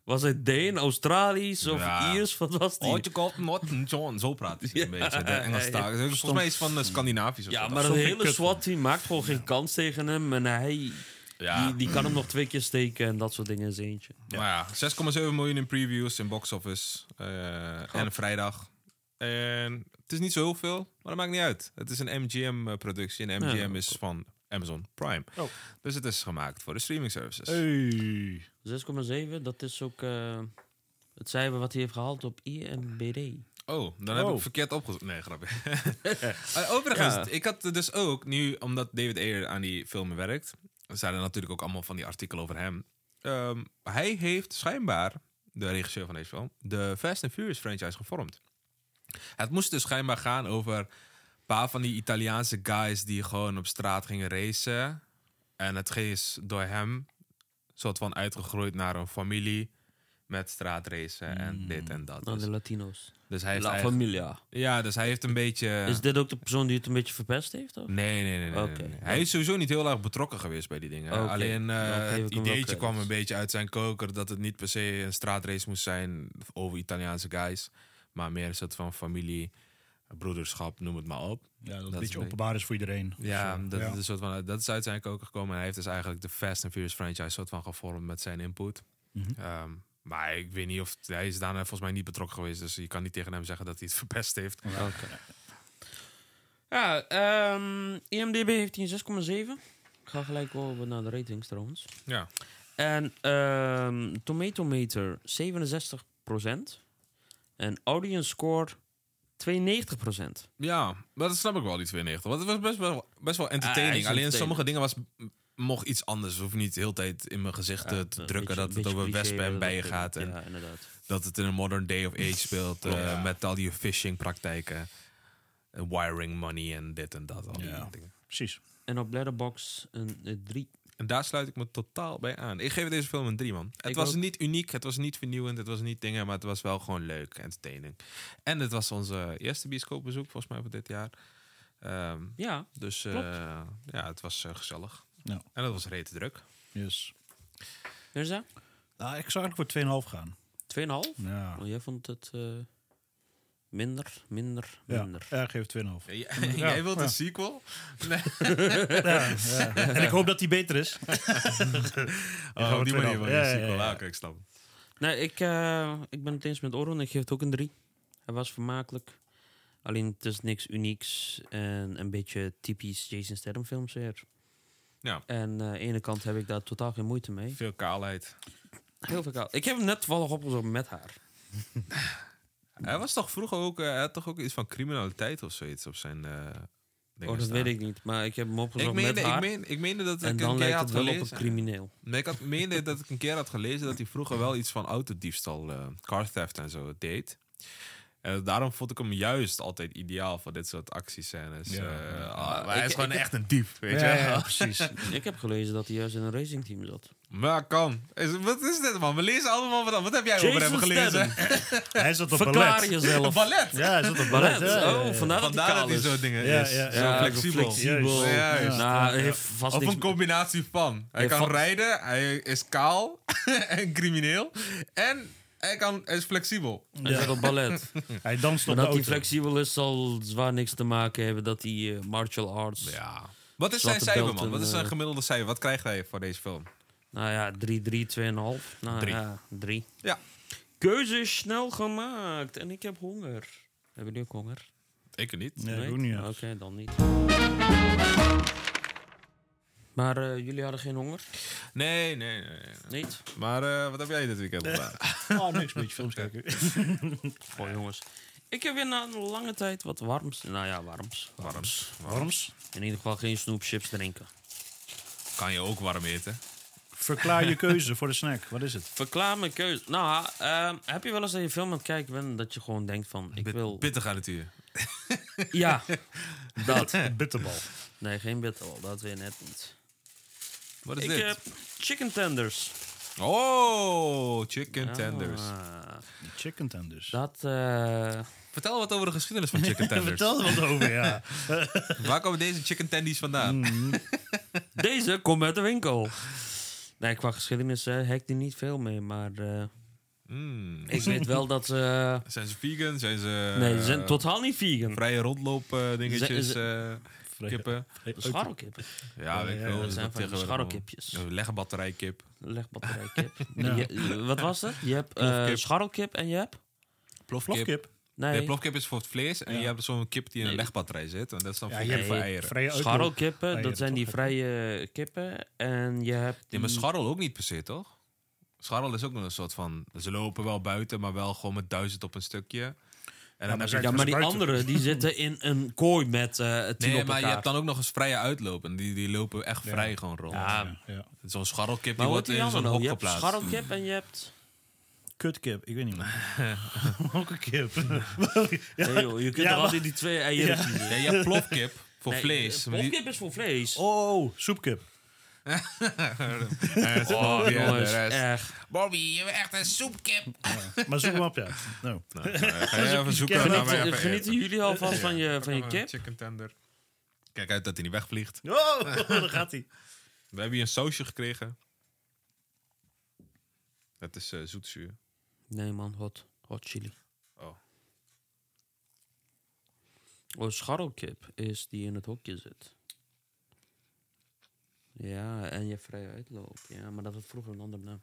Was het Deen, Australisch of Ja. Iers? Wat was die? Hoort je God, Norton John. Hm, Zo praat hij een beetje. De Engelse ja, ja. taal. Volgens mij is het van eh, Scandinavisch of Ja, zo. maar het Zo'n hele kut. SWAT-team maakt gewoon geen kans tegen hem. En hij Ja. die, die kan hem nog twee keer steken en dat soort dingen in zijn eentje. Maar ja, 6,7 miljoen in previews in box office. eh, en vrijdag. En het is niet zo heel veel, maar dat maakt niet uit. Het is een MGM-productie eh, en MGM dat is van Amazon Prime. Oh. Dus het is gemaakt voor de streaming services. Hey. 6,7, dat is ook eh, het cijfer wat hij heeft gehaald op IMBD. Oh, dan heb Oh. ik verkeerd opgezocht. Nee, grapje. Eh, overigens, ik had dus ook, nu omdat David Ayer aan die film werkt... eh, Er zijn er natuurlijk ook allemaal van die artikelen over hem. Ehm, hij heeft schijnbaar, de regisseur van deze film, de Fast and Furious franchise gevormd. Het moest dus schijnbaar gaan over een paar van die Italiaanse guys die gewoon op straat gingen racen. En het is door hem soort van uitgegroeid naar een familie met straatracen en dit en dat. Aan Nou, de Dus, Latino's. dus hij heeft La eigenlijk- Familia. ja, dus hij heeft een beetje... Is dit ook de persoon die het een beetje verpest heeft? Of? Nee, nee, nee. nee, Oké. nee, nee. Hij is sowieso niet heel erg betrokken geweest bij die dingen. Oké. Alleen eh, Dan geef ik hem het wel ideetje credits. kwam een beetje uit zijn koker dat het niet per se een straatrace moest zijn over Italiaanse guys. Maar meer een soort van familie, broederschap, noem het maar op. Ja, dat, is een beetje een openbaar is voor iedereen. Ja, Zo, dat, Is een soort van, eh, dat is uit zijn koker gekomen. En hij heeft dus eigenlijk de Fast and Furious franchise soort van gevormd met zijn input. Mhm. Ehm, maar ik weet niet of hij is daarna volgens mij niet betrokken geweest. Dus je kan niet tegen hem zeggen dat hij het verpest heeft. Ja, ehm IMDB heeft hij een 6,7. Ik ga gelijk over naar de ratings trouwens. Ja. En ehm Tomatometer 67%. En Audience Score 92%. Ja, maar dat snap ik wel, die 92. Want het was best wel, best wel entertaining. Ah, hij is Alleen entertaining. sommige dingen was m- mocht iets anders. Hoef niet de hele tijd in mijn gezicht eh, te Een drukken beetje- dat het een beetje over cliché, wespen maar en dat bijen ook- gaat. En Ja, inderdaad. dat het in een modern day of age speelt. eh, Met al die phishing praktijken. en Wiring money en dit en dat. Al die Ja. dingen. Precies. En op Letterboxd een eh, 3. En daar sluit ik me totaal bij aan. Ik geef deze film een 3, man. Het Ik was ook. niet uniek, het was niet vernieuwend, het was niet dingen, maar het was wel gewoon leuk, entertaining. En het was onze eerste bioscoopbezoek, volgens mij, voor dit jaar. Ehm, Ja, Dus eh, ja, het was eh, gezellig. Ja. En dat was rete druk. Yes. is dat? 2,5. Nou, ik zou eigenlijk voor 2,5 gaan. Ja. Oh, jij vond het eh, minder, minder, Ja, minder. ja ik geef het 2,5. Jij wilt een sequel? Nee. En ik hoop dat die beter is. Oh, op die 2,5. manier wil je Ja, een ja, sequel. ja, ja. Ah, oké, ik snap het. Nee, ik, eh, ik ben het eens met Oron. Ik geef het ook een 3. Hij was vermakelijk. Alleen het is niks unieks en een beetje typisch Jason Statham films weer. Ja. En eh, aan de ene kant heb ik daar totaal geen moeite mee. Veel kaalheid. Heel veel kaal. Ik heb hem net toevallig opgezocht met haar. Hij was toch vroeger ook, eh, hij had toch ook iets van criminaliteit of zoiets op zijn eh dingen oh, dat staan? weet ik niet. Maar ik heb hem opgezocht Ik meende, met haar. ik, meen, ik meende dat en ik een dan keer lijkt had het wel op gelezen. een crimineel. Nee, ik had, meende dat ik een keer had gelezen dat hij vroeger wel iets van autodiefstal, eh car theft en zo deed. En daarom vond ik hem juist altijd ideaal voor dit soort actiescènes. Ja. Eh, ah, maar hij Ik- is gewoon ik- echt een dief, weet je Ja, wel. ja, precies. Ik heb gelezen dat hij juist in een racingteam zat. Maar kan. Is- wat is dit, man? We lezen allemaal wat. Wat heb jij over hem gelezen? Statham. Hij zat op Verklaar ballet. jezelf. Ballet. Ja, hij zat op ballet. Ballet. ja, ja, ja. Oh, vandaar dat hij Vandaar dat kaal hij is. zo'n dingen Ja, is. ja, Zo Ja, flexibel. flexibel. Juist. Nou, hij heeft vast Of niks een combinatie van. Hij Ja, kan van- rijden, hij is kaal en crimineel. En hij, kan, hij is flexibel. Hij zat op ballet. Hij danst Maar op de dat hij auto. flexibel is, zal zwaar niks te maken hebben dat hij eh, martial arts. Ja. Wat is zijn Zwarte cijfer, belt man? en, Wat is zijn eh, gemiddelde cijfer? Wat krijgt hij voor deze film? Nou ja, 3, 3, 2,5. Nou Drie. ja, 3. Ja. Keuze is snel gemaakt en ik heb honger. Hebben jullie ook honger? Ik niet. Nee, ik ook niet. Oké, ja. dan niet. Maar eh, jullie hadden geen honger? Nee, nee, nee. nee. Niet? Maar eh, wat heb jij dit weekend gedaan? Oh, niks, een beetje films kijken. Goh, jongens. Ik heb weer na een lange tijd wat warms. Nou ja, warms. Warms. Warms. In ieder geval geen snoepchips drinken. Kan je ook warm eten? Verklaar je keuze voor de snack. Wat is het? Verklaar mijn keuze. Nou, ehm, heb je wel eens dat je film aan het kijken bent dat je gewoon denkt van... Ik Bit- wil... Pittig aan het uur. Ja, dat. Bitterbal. Nee, geen bitterbal. Dat weer net niet. Wat is Ik eh, dit? heb chicken tenders. Oh, chicken tenders. Ah, Chicken tenders. dat... eh, Vertel wat over de geschiedenis van chicken tenders. Vertel er wat over, ja. Waar komen deze chicken tendies vandaan? Mm. deze komt uit de winkel. Nee, qua geschiedenis eh hek die niet veel mee, maar... eh, Mm. ik weet wel dat ze... Zijn ze vegan? Zijn ze... nee, ze zijn eh, totaal niet vegan. Vrije rondloop eh, dingetjes, Ze- eh, kippen. Scharrelkip. Ja, weet ik veel. dat wat is dat zijn van die tegenwoordig scharrelkipjes. allemaal? Een legbatterijkip. Legbatterijkip. Je- Wat was het? Je hebt eh, Plofkip. scharrelkip en je hebt... Plofkip. Nee, Nee, plofkip is voor het vlees. En je hebt zo'n kip die in een Nee. legbatterij zit. En dat is dan Ja, voor, je hebt voor Nee. eieren. Vrije uitloop. scharrelkippen, Eieren, dat zijn die toch? vrije kippen. En je hebt... Nee, maar scharrel ook niet per se, toch? Scharrel is ook nog een soort van... Ze lopen wel buiten, maar wel gewoon met duizend op een stukje. En dan heb je kijk, Ja, maar die gebruikt het. anderen die zitten in een kooi met eh tien Nee, maar op je elkaar. hebt dan ook nog eens vrije uitlopen. Die, die lopen echt vrij gewoon rond. Ja, Ja. Zo'n scharrelkip maar die wordt wat die in zo'n andere? nou? hok Je hebt geplaatst. scharrelkip en je hebt... Kutkip, ik weet niet meer. Ook een kip. Nee, joh, je kunt er Ja, maar- altijd die twee eieren kiezen. Ja, je hebt plofkip voor Nee, vlees. eh, maar die- Plofkip is voor vlees. oh, soepkip. Oh, ja, de Jongens, rest. echt. Bobby, je bent echt een soepkip. Maar zoek hem op, ja. Nou. Ga je even zoeken Geniet- naar Genieten, mij nou even genieten jullie alvast van je, van je eten. kip? Chicken tender. Kijk uit dat hij niet wegvliegt. Oh, daar gaat hij. We hebben hier een sausje gekregen. Dat is eh, zoetzuur. Nee man, hot. Hot chili. Oh. Oh, scharrelkip is die in het hokje zit. Ja, en je vrije uitloop. Ja, maar dat had vroeger een andere naam.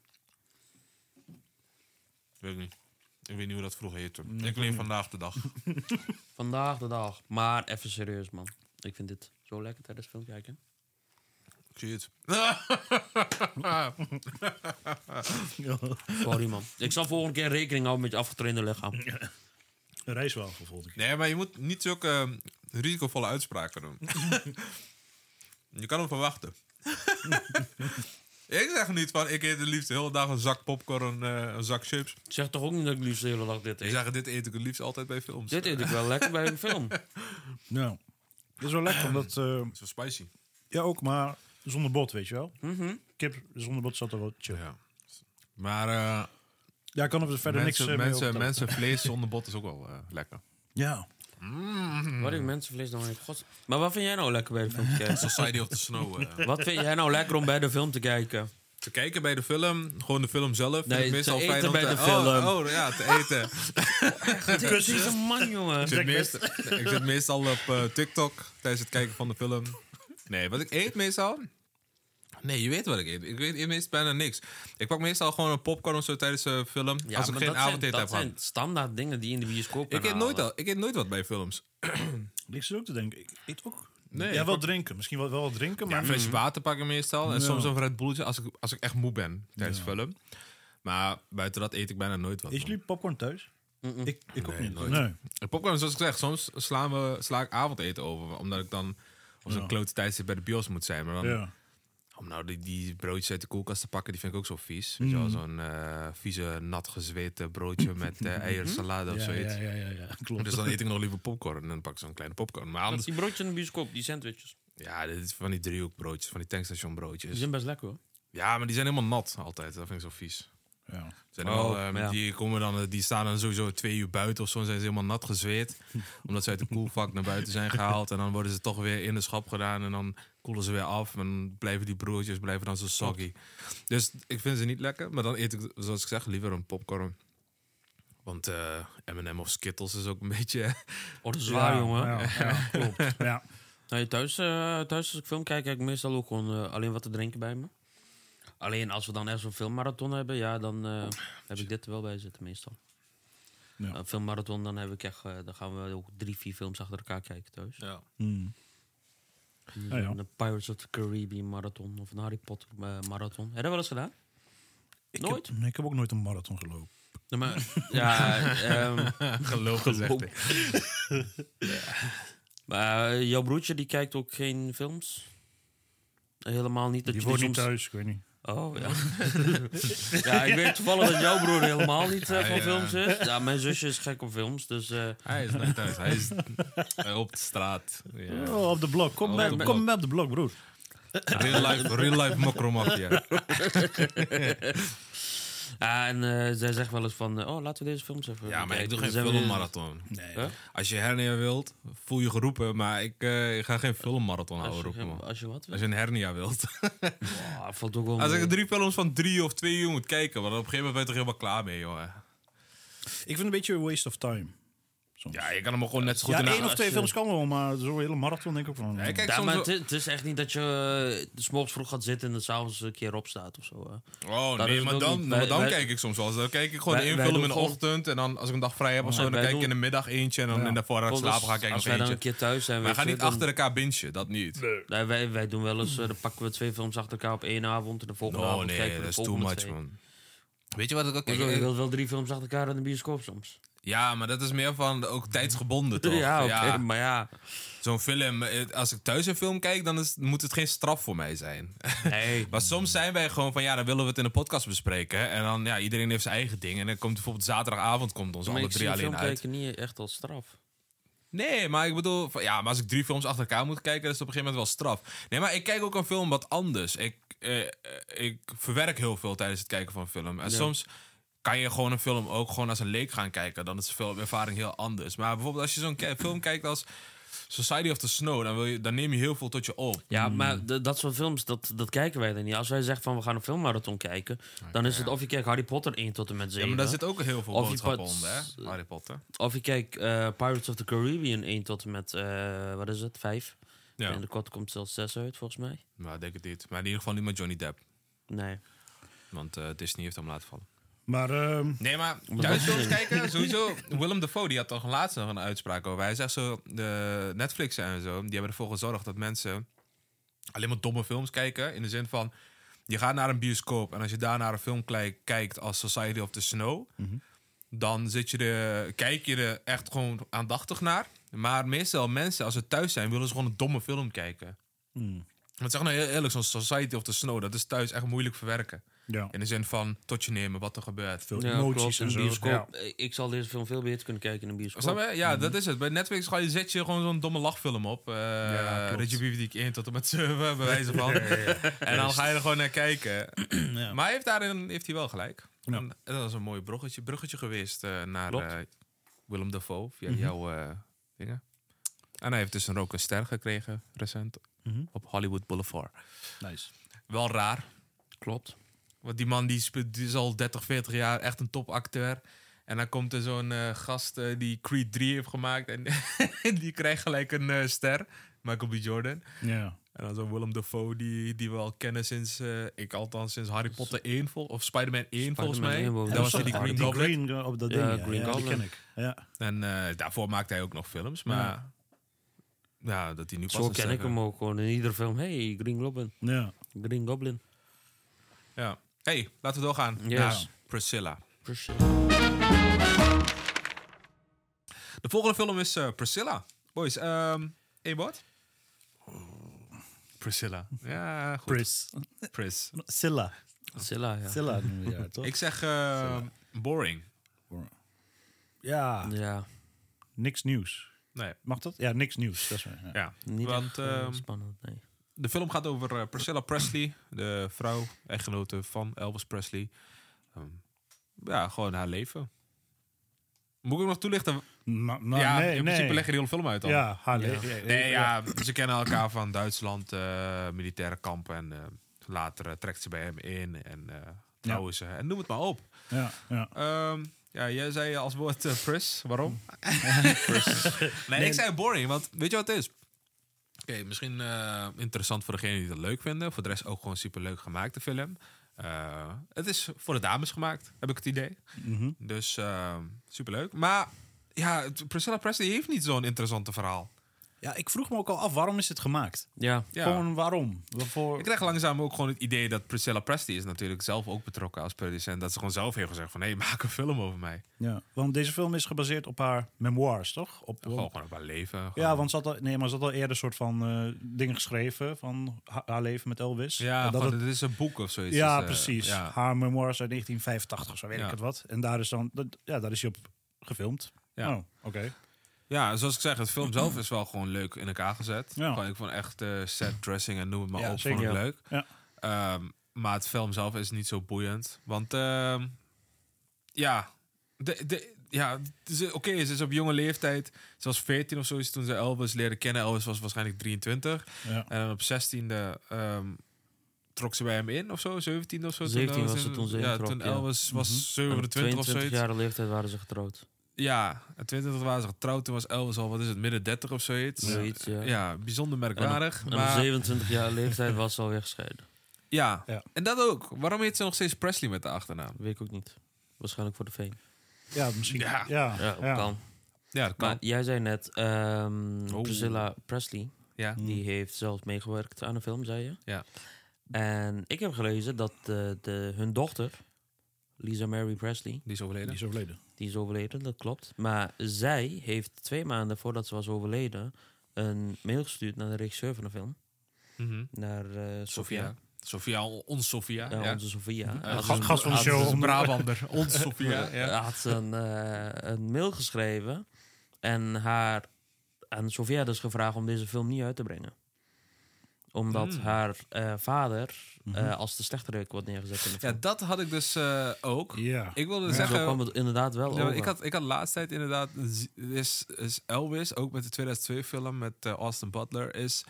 Weet ik niet. Ik weet niet hoe dat vroeger heette. ik alleen vandaag de dag. Vandaag de dag. Maar even serieus, man. Ik vind dit zo lekker tijdens film kijken. Ik zie het. Sorry, man. Ik zal volgende keer rekening houden met je afgetrainde lichaam. Een rijstwafel volgende keer. Nee, maar je moet niet zulke eh, risicovolle uitspraken doen. je kan hem verwachten. ik zeg niet van, ik eet het liefst de hele dag een zak popcorn, eh, een zak chips. Ik zeg toch ook niet dat ik liefst de hele dag dit Ik eet. zeg, dit eet ik het liefst altijd bij films. Dit eet ik wel lekker bij een film. Nou, dat is wel lekker, omdat... eh, Zo spicy. ja, ook, maar zonder bot, weet je wel. Kip zonder bot zat er wel chill. Ja. Maar eh, Ja, ik kan er verder mensen, niks eh, mee mensen, over- mensen vlees zonder bot is ook wel eh, lekker. Ja. Wat ik mensenvlees dan heeft. God. Maar wat vind jij nou lekker bij de film te kijken? Society of the Snow. eh. Wat vind jij nou lekker om bij de film te kijken? te kijken bij de film, gewoon de film zelf. vind Nee, ik te meestal eten fijn om bij te- de film. Oh, oh, ja, te eten. Kus is een man, jongen. Ik zit, meestal, ik zit meestal op eh, TikTok tijdens het kijken van de film. Nee, wat ik eet meestal. Nee, je weet wat ik eet. Ik weet meestal bijna niks. Ik pak meestal gewoon een popcorn of zo tijdens de film. als ik maar geen dat zijn- avondeten heb Dat gehad. zijn Nou, standaard dingen die je in de bioscoop Ik kan eet, nooit halen. al, ik eet nooit wat bij films. Ik zit ook te denken, ik eet ook... Nee, ja, ik wel ook- drinken. Misschien wel, wel wat drinken, Ja, maar... een flesje water pak ik meestal. En soms een Red Bulletje als ik, als ik echt moe ben tijdens de film. Maar buiten dat eet ik bijna nooit wat. Eet jullie popcorn thuis? Ik, ik ook niet. Nee. De Popcorn, zoals ik zeg, soms slaan we, sla ik avondeten over. Omdat ik dan op zo'n Ja. klote tijdstip bij de bios moet zijn. Maar dan, Ja. om nou die, die broodjes uit de koelkast te pakken, die vind ik ook zo vies. Weet je Mm. wel, zo'n eh, vieze, nat gezweten broodje met eh eiersalade of Ja, zoiets. ja, ja, ja, ja, klopt. Dus dan eet ik nog liever popcorn en dan pak ik zo'n kleine popcorn. Maar Want anders, Die broodjes in de bioscoop, die sandwiches. ja, dit is van die driehoekbroodjes, van die Die tankstationbroodjes. zijn best lekker, hoor. Ja, maar die zijn helemaal nat altijd. Dat vind ik zo vies. Ja. Zijn Oh, helemaal, ehm, ja. die, komen dan, eh, die staan dan sowieso twee uur buiten of zo. en zijn ze helemaal nat gezweet. omdat ze uit de koelvak naar buiten zijn gehaald. En dan worden ze toch weer in de schap gedaan. En dan koelen ze weer af. En dan blijven die broertjes blijven dan zo soggy. Dus ik vind ze niet lekker. Maar dan eet ik, zoals ik zeg, liever een popcorn. Want eh, M&M of Skittles is ook een beetje... Oh, dat is waar, jongen. Ja, ja, klopt. Ja. Nou, thuis, eh, thuis als ik film kijk, kijk ik meestal ook gewoon eh, alleen wat te drinken bij me. Alleen als we dan echt zo'n filmmarathon hebben, ja, dan eh, heb ik dit er wel bij zitten meestal. Ja. Een filmmarathon, dan, heb ik echt, eh, dan gaan we ook drie, vier films achter elkaar kijken thuis. Ja. Hmm. Ja, ja. Een Pirates of the Caribbean marathon of een Harry Potter eh, marathon. Heb je dat wel eens gedaan? Ik Nooit? Heb, nee, ik heb ook nooit een marathon gelopen. Nee, maar, ja, ehm, Geloof gezegd. Geloof. maar eh, jouw broertje die kijkt ook geen films? Helemaal niet dat Die je die wordt niet soms- thuis, ik weet niet. Oh ja. ja, ik weet toevallig dat jouw broer helemaal niet eh, van ja. films is. Ja, mijn zusje is gek op films, dus. eh, Hij is niet thuis. Hij is eh, op de straat. Ja. Oh, op de blok. Kom, Oh, mee, op de kom blok. mee op de blok, broer. Real life, real life mokromafia. ja, en eh, zij zegt wel eens van, eh, oh laten we deze films even. Ja, maar ik bekijken. doe Dan geen zijn we- filmmarathon. Huh? Als je hernia wilt, voel je geroepen, maar ik, eh, ik ga geen filmmarathon Als houden je, roepen, geen- man. als je wat wil. Als je een hernia wilt. Ah, valt ook wel Als mee. ik drie films van drie of twee uur moet kijken, want op een gegeven moment ben je toch helemaal klaar mee, jongen. Ik vind het een beetje een waste of time. Soms. Ja, je kan hem gewoon net zo goed Ja, in de- één of twee je- films kan wel, maar zo'n hele marathon denk ik ook van. Ja, ik eh. kijk Ja, soms maar wel- het, is- het is echt niet dat je eh, de 's morgens vroeg gaat zitten en de 's avonds een keer opstaat of zo. hè. Oh Dat is nee, het maar ook dan, niet. maar Wij- dan wij- kijk ik soms wel eens. Dan kijk ik gewoon Wij- één wij film in doen de gewoon- ochtend. En dan als ik een dag vrij heb of zo, dan wij kijk ik doen- in de middag eentje. En dan in de voorraad Volgens- slapen ga ik Als kijken wij nog dan een eentje. keer thuis zijn. Maar weet ga je, niet dan- achter elkaar bingen, dat niet. Nee, wij, wij doen wel eens, eh, dan pakken we twee films achter elkaar op één avond en de volgende Oh avond nee, kijken we dat de is too volgende much, twee. man. Weet je wat ik ook... Ik wil wel drie films achter elkaar in de bioscoop soms. Ja, maar dat is meer van ook tijdsgebonden, toch? ja, oké, maar ja. Zo'n film, eh, als ik thuis een film kijk, dan is, moet het geen straf voor mij zijn. Nee. maar soms zijn wij gewoon van, ja, dan willen we het in een podcast bespreken. En dan, ja, iedereen heeft zijn eigen ding. En dan komt bijvoorbeeld zaterdagavond komt ons maar alle ik zie drie alleen film uit. kijken niet echt als straf. Nee, maar ik bedoel, van, ja, maar als ik drie films achter elkaar moet kijken, dat is het op een gegeven moment wel straf. Nee, maar ik kijk ook een film wat anders. Ik, eh, eh, ik verwerk heel veel tijdens het kijken van een film. En soms kan je gewoon een film ook gewoon als een leek gaan kijken. Dan is de filmervaring heel anders. Maar bijvoorbeeld als je zo'n ke- film kijkt als Society of the Snow, dan, wil je, dan neem je heel veel tot je op. Ja, maar de- dat soort films, dat, dat kijken wij dan niet. Als wij zeggen van we gaan een filmmarathon kijken, dan is het of je kijkt Harry Potter 1 tot en met 7. Ja, maar daar zit ook heel veel Of je boodschappen pakt- onder, hè? Harry Potter. Of je kijkt eh, Pirates of the Caribbean 1 tot en met, eh, wat is het, 5? Ja. En de kot komt zelfs 6 uit, volgens mij. Maar ik denk het niet. Maar in ieder geval niet met Johnny Depp. Nee. Want eh, Disney heeft hem laten vallen. Maar ehm, Nee, maar thuisfilms kijken, sowieso. Willem Dafoe die had toch laatst nog een uitspraak over. Hij zegt zo, de Netflix en zo, die hebben ervoor gezorgd dat mensen alleen maar domme films kijken. In de zin van, je gaat naar een bioscoop en als je daar naar een film klei- kijkt als Society of the Snow, dan zit je er, kijk je er echt gewoon aandachtig naar. Maar meestal mensen, als ze thuis zijn, willen ze gewoon een domme film kijken. Want zeg nou heel eerlijk, zo'n Society of the Snow, dat is thuis echt moeilijk verwerken. ja, In de zin van tot je nemen wat er gebeurt. veel Ja, emoties klopt, en in zo. de bioscoop. Ja. Eh, Ik zal deze film veel beter kunnen kijken in een bioscoop. Snap je? Ja, Mhm. dat is het. Bij Netflix ga je, zet je gewoon zo'n domme lachfilm op. Uh, Ja, ja, klopt. die ik 1 tot en met 7, bij wijze van. En dan ga je er gewoon naar kijken. Ja. Maar hij heeft daarin heeft hij wel gelijk. Ja. En dat was een mooi bruggetje, bruggetje geweest eh, naar Klopt. eh, Willem Dafoe. Via Mhm. jouw eh, dingen. En hij heeft dus ook een ster gekregen recent Mhm. op Hollywood Boulevard. Nice. Wel raar, Klopt. want die man die, spe- die is al 30, 40 jaar echt een topacteur. En dan komt er zo'n eh, gast eh, die Creed 3 heeft gemaakt. En die krijgt gelijk een eh, ster. Michael B. Jordan. Ja. En dan zo'n Willem Dafoe die, die we al kennen sinds... eh, ik althans sinds Harry Potter 1 vol, of Spider-Man 1 volgens Spider-Man mij. 1 wel. Daar Ja, was hij die sorry, Green die Goblin. Green Go- op dat ding. Ja, Ja, Green ja, die Goblin. ken ik. Ja. En eh, daarvoor maakte hij ook nog films. Maar ja, dat hij nu pas Zo een ken ster ik hem ook gewoon. In ieder film, hey, Green Goblin. Ja. Green Goblin. Ja. hey, laten we doorgaan Yes. naar Priscilla. Priscilla. De volgende film is eh, Priscilla. Boys, ehm één woord? Priscilla. Ja, goed. Pris. Pris. Silla. Priscilla, ja. Silla noemen we haar, toch? Ik zeg ehm, boring. Ja. Ja, Niks nieuws. Nee. Mag dat? Ja, niks nieuws. Dat is waar, ja. Ja, niet want echt, eh, ehm, spannend, nee. de film gaat over eh, Priscilla Presley, de vrouw, echtgenote van Elvis Presley. Ehm, ja, gewoon haar leven. Moet ik nog toelichten? Maar, maar ja, Nou, nee, in principe nee. leg je de hele film uit dan. Ja, haar leven. Nee, ja, ze kennen elkaar van Duitsland, eh, militaire kampen. En eh, later eh, trekt ze bij hem in en eh trouwen ze. En noem het maar op. Ja, ja. Ehm, ja, jij zei als woord eh, Pris. Waarom? nee, ik zei boring, want weet je wat het is? Oké, misschien eh, interessant voor degenen die dat leuk vinden. Voor de rest ook gewoon superleuk gemaakt, de film. Eh, het is voor de dames gemaakt, heb ik het idee. Dus ehm, superleuk. Maar ja, het- Priscilla Presley heeft niet zo'n interessante verhaal. Ja, ik vroeg me ook al af, waarom is dit gemaakt? Ja, Ja. Gewoon waarom? Waarvoor? Ik krijg langzaam ook gewoon het idee dat Priscilla Presley is natuurlijk zelf ook betrokken als producent. Dat ze gewoon zelf heeft gezegd van, hé, hey, maak een film over mij. Ja, want deze film is gebaseerd op haar memoirs, toch? Op, Gewoon, gewoon op haar leven. gewoon- Ja, want ze had al, nee, maar ze had al eerder een soort van eh, dingen geschreven van ha- haar leven met Elvis. Ja, En dat van, het- dit is een boek of zoiets. ja Dus, eh, precies. Ja. Haar memoirs uit 1985, zo weet Ja. ik het wat. En daar is dan, dat, ja, daar is hij op gefilmd. Ja. Oh, oké. Ja, zoals ik zeg, het film zelf is wel gewoon leuk in elkaar gezet. Ja. Gewoon, ik vond echt eh, set dressing en noem het maar Ja, op, zeker, vond ik ja. leuk. Ja. Ehm, maar het film zelf is niet zo boeiend. Want ehm, ja, de, de, ja het is- oké, ze is op jonge leeftijd. Ze was 14 of zoiets toen ze Elvis leerde kennen. Elvis was waarschijnlijk 23. Ja. En dan op 16e ehm, trok ze bij hem in of zo, 17 of zo. 17 Elvis was ze in- toen ze ja, introk, toen ja. Elvis Mhm. was Op 27 of zoiets. 22-jarige leeftijd waren ze getrouwd. Ja, en 22 waren ze getrouwd. Toen was Elvis al, wat is het, midden 30 of zoiets. Zoiets, ja. Ja, bijzonder En op- merkwaardig. En op, maar 27-jarige leeftijd was ze alweer gescheiden. ja. Ja. en dat ook. Waarom heet ze nog steeds Presley met de achternaam? Weet ik ook niet. Waarschijnlijk voor de fame. Ja, misschien. Ja. Ja, ja, Ja, kan. Ja, dat kan. Maar jij zei net, ehm, Oh. Priscilla Presley, ja. Hmm. die heeft zelf meegewerkt aan een film, zei je. Ja. En ik heb gelezen dat eh, de, hun dochter Lisa Mary Presley. Die is Die overleden. is overleden. Die is overleden, dat klopt. Maar zij heeft twee maanden voordat ze was overleden... een mail gestuurd naar de regisseur van de film. Mhm. Naar eh, Sofia. Sofia. Sofia, ons Sofia. Ja, Ah, ja. Onze Sofia. Eh, Had ze gast- een- gast van de had ze show. Het is een Brabander. Ons Sofia. Ja. had ze een, eh, een mail geschreven en haar aan Sofia dus gevraagd om deze film niet uit te brengen. Omdat Hmm. haar eh, vader eh, Mhm. als de slechterik wordt neergezet in de Ja, film. dat had ik dus eh, ook. Ja. Ik wilde Zo zeggen... kwam het inderdaad wel Ja, maar over. ik, had, ik had laatst tijd inderdaad... Is, is Elvis, ook met de 2002-film met eh, Austin Butler... is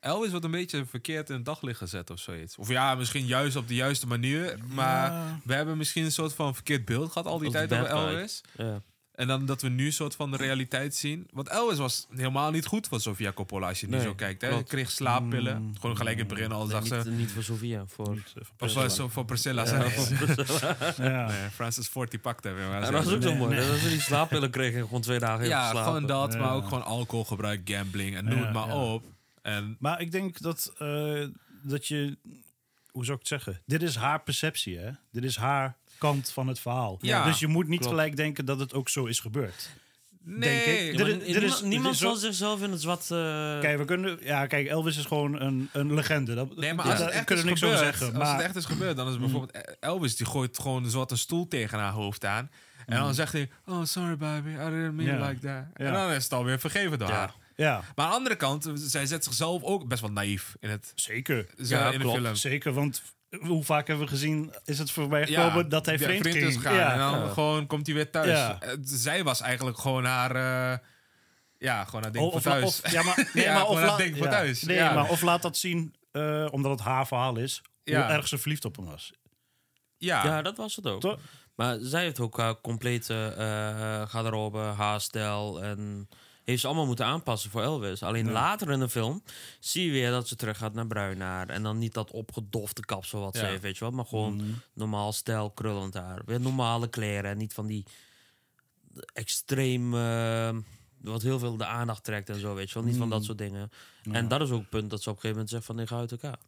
Elvis wordt een beetje verkeerd in het daglicht gezet of zoiets. Of ja, misschien juist op de juiste manier. Maar we hebben misschien een soort van verkeerd beeld gehad al die Als de tijd over bad guy. Elvis. Ja. En dan dat we nu een soort van de realiteit zien. Want Elvis was helemaal niet goed van Sofia Coppola als je nu Nee, zo kijkt. Hè? klopt. Kreeg slaappillen. Mm. Gewoon gelijk in het begin al Nee, zag niet, ze... niet voor Sofia, voor... Niet, eh, van Of Priscilla. was zo voor Priscilla. Ja, zei- voor Priscilla. Ja. Nee, Francis Ford die pakte hem. maar En ze- dat was ook zo Nee, mooi. nee. Dat ze die slaappillen kregen en gewoon twee dagen Ja, heeft geslapen. gewoon dat, maar Ja. ook gewoon alcoholgebruik, gambling en noem Ja, het maar ja. op. En Maar ik denk dat, eh, dat je... Hoe zou ik het zeggen? Dit is haar perceptie, hè? Dit is haar kant van het verhaal. Ja, dus je moet niet klopt. gelijk denken dat het ook zo is gebeurd. nee, Denk ik. Ja, Dit maar is- ni- dit is- niemand dit niemand is zo- zal zichzelf in het zwart... eh, Kijk, we kunnen, ja, kijk, Elvis is gewoon een, een legende. Dat, nee, maar ja, als daar het echt is kunnen we niks gebeurd, over zeggen. als het Maar Mm. echt is gebeurd, dan is het bijvoorbeeld Elvis die gooit gewoon een zwarte stoel tegen haar hoofd aan. En dan zegt hij, oh sorry baby, I didn't mean Mm. Ja. it like that. Ja. En dan is het alweer vergeven door Ja. haar. ja, Maar aan de andere kant, zij zet zichzelf ook best wel naïef in, het, zeker. ja, in de klopt. film. Zeker, want hoe vaak hebben we gezien is het voorbij gekomen dat hij ja, vreemd, is ging. gegaan. Ja. En dan Ja. gewoon komt hij weer thuis. Ja. Eh, Zij was eigenlijk gewoon haar... eh, ja, gewoon haar ding Oh, voor of, thuis. of- ja, maar, nee, Ja, maar gewoon of dat laat- ding voor ja. thuis. Nee, Ja. maar of laat dat zien, eh, omdat het haar verhaal is, Ja. hoe erg ze verliefd op hem was. Ja, dat was het ook. Toch? Maar zij heeft ook haar complete eh garderobe, haarstijl en heeft ze allemaal moeten aanpassen voor Elvis. Alleen later in de film zie je weer dat ze terug gaat naar bruin haar en dan niet dat opgedofte kapsel wat ze Ja. Mhm. heeft, weet je wel, maar gewoon normaal stijl, krullend haar, weer normale kleren en niet van die extreem eh, wat heel veel de aandacht trekt en zo, weet je wel, niet van Mhm. dat soort dingen. En dat is ook het punt dat ze op een gegeven moment zegt van ik ga uit elkaar.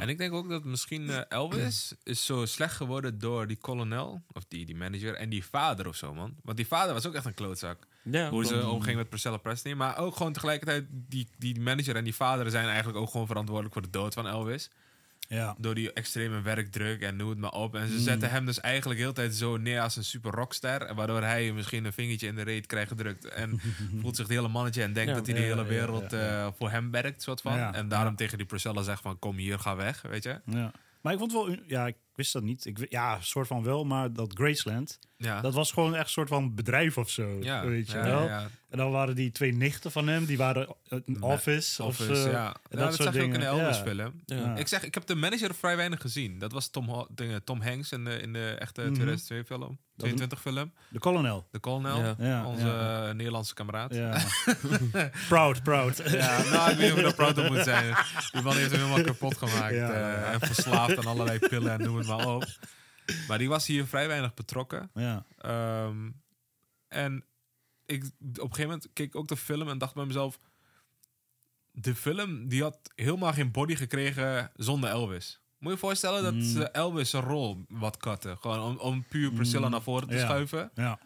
En ik denk ook dat misschien eh, Elvis is zo slecht geworden door die kolonel, of die, die manager, en die vader of zo, man. Want die vader was ook echt een klootzak. Ja, Hoe ze omging met Priscilla Presley. Maar ook gewoon tegelijkertijd, die, die manager en die vader zijn eigenlijk ook gewoon verantwoordelijk voor de dood van Elvis. Ja. Door die extreme werkdruk en noem het maar op. En Mm. ze zetten hem dus eigenlijk heel de tijd zo neer als een super rockster. en Waardoor hij misschien een vingertje in de reet krijgt gedrukt. En voelt zich het hele mannetje en denkt Ja, dat hij de ja, hele ja, wereld eh, voor hem werkt, soort van. Ja, en daarom tegen die Priscilla zegt van, kom hier, ga weg, weet je. Ja. Maar ik vond wel, un- ja, ik wist dat niet. Ik, wi- ja, soort van wel, maar dat Graceland, Ja. dat was gewoon echt een soort van bedrijf of zo. Ja, weet je ja, wel. ja. En dan waren die twee nichten van hem, die waren een office, of Office, zo. ja. Ja, En Dat, soort zag je ook in de dingen. Elvis Ja. film. Ja. Ik zeg, ik heb de manager vrij weinig gezien. Dat was Tom, Ho- dingen, Tom Hanks in de, in de echte Mhm. 2002 film. 22 film. De kolonel. De Colonel, Ja. Ja, onze ja. eh, Nederlandse kameraad. Ja. Ja. proud, proud. nou, ik weet niet of ik daar proud op moet zijn. Die man heeft hem helemaal kapot gemaakt. Ja, eh, ja. en verslaafd aan allerlei pillen en noem het maar op. Maar die was hier vrij weinig betrokken. Ja. Ehm, en ik, op een gegeven moment keek ik ook de film en dacht bij mezelf... De film die had helemaal geen body gekregen zonder Elvis. Moet je je voorstellen dat ze Elvis zijn rol wat katten. Gewoon om, om puur Priscilla naar voren te Ja. schuiven. ja.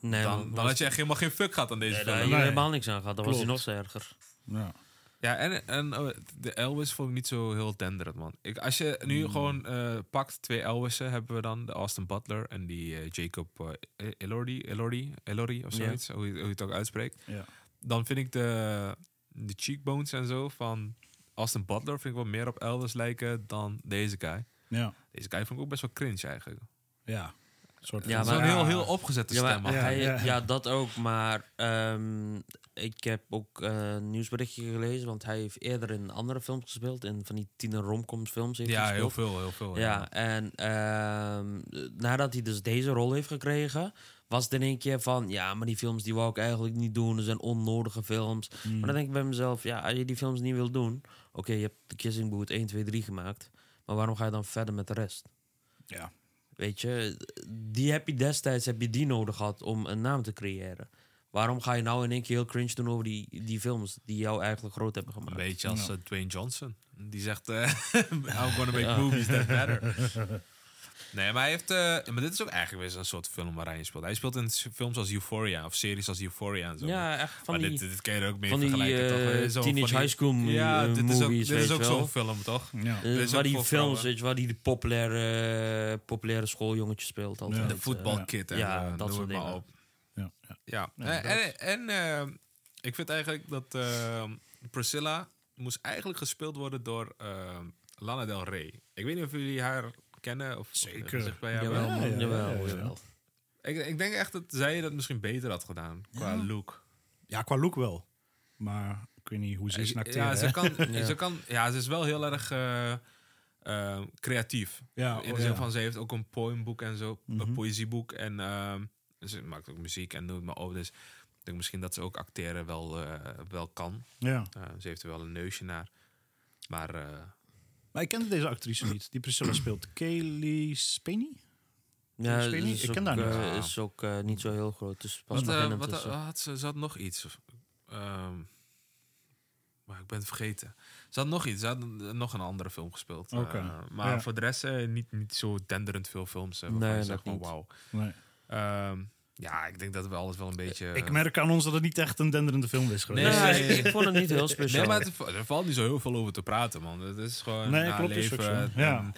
nee, Dan, dan had je echt helemaal geen fuck gehad aan deze Nee, daar had film. je Nee. helemaal niks aan gehad, dan was hij nog Klopt. zo erger. ja. Ja, en, en eh, de Elvis vond ik niet zo heel tenderend, man. Ik, als je nu Hmm. gewoon eh, pakt, twee Elvissen hebben we dan. De Austin Butler en die eh, Jacob eh, Elordi, Elordi, Elordi of Ja. zoiets. Hoe, je, hoe je het ook uitspreekt. Ja. dan vind ik de, de cheekbones en zo van Austin Butler vind ik wel meer op Elvis lijken dan deze guy. Ja. Deze guy vond ik ook best wel cringe eigenlijk. Ja. Soort Ja, Ja, maar- Zo'n heel, heel opgezette Ja, stem. maar man. hij, Ja, ja. ja. dat ook. Maar ehm, ik heb ook eh, een nieuwsberichtje gelezen. Want hij heeft eerder in andere films gespeeld. In van die tiener romcoms films heeft hij ja, heel gespeeld. veel, heel veel. Ja, en ehm, nadat hij dus deze rol heeft gekregen, was het in één keer van... Ja, maar die films die wou ik eigenlijk niet doen. Dat zijn onnodige films. Maar dan denk ik bij mezelf, ja, als je die films niet wil doen... Oké, je hebt The Kissing Booth 1, 2, 3 gemaakt. Maar waarom ga je dan verder met de rest? Ja. Weet je, die heb je destijds heb je die nodig gehad om een naam te creëren. Waarom ga je nou in één keer heel cringe doen over die, die films die jou eigenlijk groot hebben Een gemaakt? beetje als eh, Dwayne Johnson. Die zegt, eh I'm gonna make movies that better. Nee, maar hij heeft. eh, maar dit is ook eigenlijk weer een soort film waarin je speelt. Hij speelt in s- films als Euphoria of series als Euphoria en zo. Ja, echt van maar die- dit, dit kan je er ook mee van die, vergelijken. eh, toch? Eh, zo'n- teenage van die- high school mo- Ja, eh, dit is ook, movies, dit is weet ook je wel. zo'n film, toch? Ja. Eh, Dit is waar ook die voor films, vrouwen. weet je, waar die de populaire, eh, populaire schooljongetje speelt altijd. De Eh, voetbalkit en ja, eh, dat noem soort het maar dingen. op. Ja, ja. Ja, en, en eh, ik vind eigenlijk dat eh, Priscilla moest eigenlijk gespeeld worden door eh, Lana Del Rey. Ik weet niet of jullie haar kennen of Zeker. of zich bij haar Jawel, wel- man, ja, ja, jawel, ja, ja. jawel. Ik, ik denk echt dat zij dat misschien beter had gedaan qua look. ja, qua look wel. Maar ik weet niet hoe ze is acteren. ja, ze hè? kan, Ja. Ze kan, ja, ze is wel heel erg eh, eh, creatief. Ja, In oh, de zin ja. Mhm. van, ze heeft ook een poëmboek en zo, een poëzieboek. En ehm, ze maakt ook muziek en doet maar op. Dus ik denk misschien dat ze ook acteren wel, eh, wel kan. Ja. Eh, ze heeft er wel een neusje naar. Maar eh, Maar ik kende deze actrice niet. Die Priscilla speelt Kaylee Spenny. Ja, Ik weet niet, is ik ken ook, daar niet. eh, is ook eh, niet zo heel groot, dus pas wat, nog eh, in hem wat tussen. had ze? Ze had nog iets. Of, ehm, maar ik ben het vergeten. Ze had nog iets. Ze had een- nog een andere film gespeeld. Oké. Eh, maar Ja. voor de rest eh, niet, niet zo denderend veel films. eh, waarvan Nee, je zegt dat van niet. wauw. Nee. Ehm, ja, ik denk dat we alles wel een beetje... Eh, Ik merk aan ons dat het niet echt een denderende film is geweest. Nee, Ja, nee, ik, ik vond het niet heel speciaal. Nee, maar het, er valt niet zo heel veel over te praten, man. Het is gewoon Nee, na klopt, is leven. ook zo. Ja. en,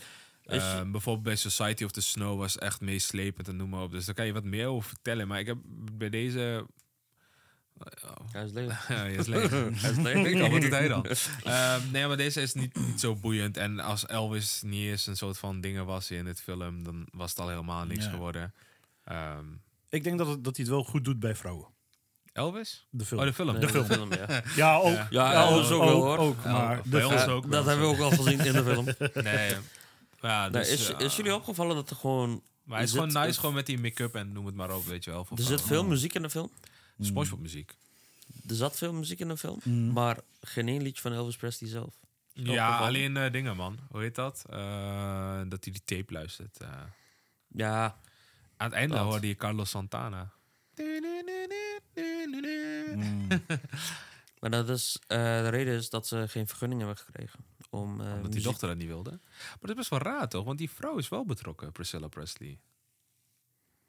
Is- eh, bijvoorbeeld bij Society of the Snow was echt meeslepend en noem maar op. Dus daar kan je wat meer over vertellen. Maar ik heb bij deze... Oh, Hij is leeg. Ja, je is leeg. ik denk al, wat doet hij dan? Ehm, nee, maar deze is niet, niet zo boeiend. En als Elvis niet eens een soort van dingen was in het film... dan was het al helemaal niks Ja. geworden. Ehm, Ik denk dat, het- dat hij het wel goed doet bij vrouwen. Elvis? De film. Oh, de film. oh, Nee, film, ja. Ja, ook. Ja, dat is ook wel, hoor. ook, maar Ja, de bij film. ons Ja, ook wel Eh, dat zo. hebben we ook al gezien in de film. Nee. Ja, Nou, dus, is, eh, is jullie opgevallen dat er gewoon... Maar hij is er zit- gewoon nice, gewoon met die make-up en noem het maar op, weet je wel. Of Er zit veel muziek in de film. SpongeBob muziek. Er zat veel muziek in de film. Mhm. Mm. Maar geen één liedje van Elvis Presley zelf. Is Ja, opgevallen. alleen eh, dingen, man. Hoe heet dat? Eh, dat hij die tape luistert. eh. Ja, aan het einde Dat. hoorde je Carlos Santana. Mm. maar dat is, eh, de reden is dat ze geen vergunning hebben gekregen. Om, eh, Omdat die muziek- dochter dat niet wilde. Maar dat is best wel raar, toch? Want die vrouw is wel betrokken, Priscilla Presley.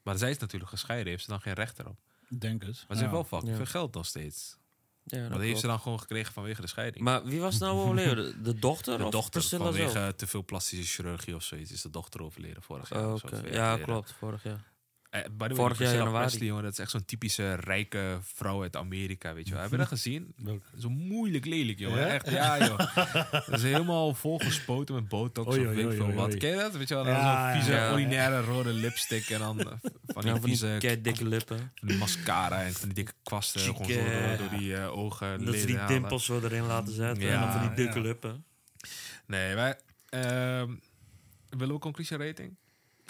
Maar zij is natuurlijk gescheiden. Heeft ze dan geen recht erop? Denk het. Maar ze heeft wel fucking Ja. veel geld nog steeds. Ja, dat Maar die heeft klopt. ze dan gewoon gekregen vanwege de scheiding. Maar wie was nou overleden? De, de dochter de of dochter Priscilla vanwege zelf? te veel plastische chirurgie of zoiets is de dochter overleden vorig jaar. Oh, of zo, oké. twee jaar Ja, geleden. klopt. Vorig jaar. Eh, by the way, Vorig Vorig jaar jaar januari. Presley, jongen, dat is echt zo'n typische rijke vrouw uit Amerika, weet je wel. Heb je dat gezien? Zo moeilijk lelijk, jongen. Echt, ja, joh. Dat is helemaal volgespoten met botox Oei, of oei, weet ik oei, veel oei, wat. oei. Ken je dat? Weet je wel, dan Ja, zo'n vieze, ja. ordinaire rode lipstick en dan eh, van die Ja, van vieze die kei dikke lippen. van die mascara en van die dikke kwasten gewoon zo Chique. door, door die eh, ogen Dat ze die leden halen. dimpels zo erin laten zetten. Ja, en dan van die dikke ja. lippen. Nee, maar... ehm, willen we conclusie rating?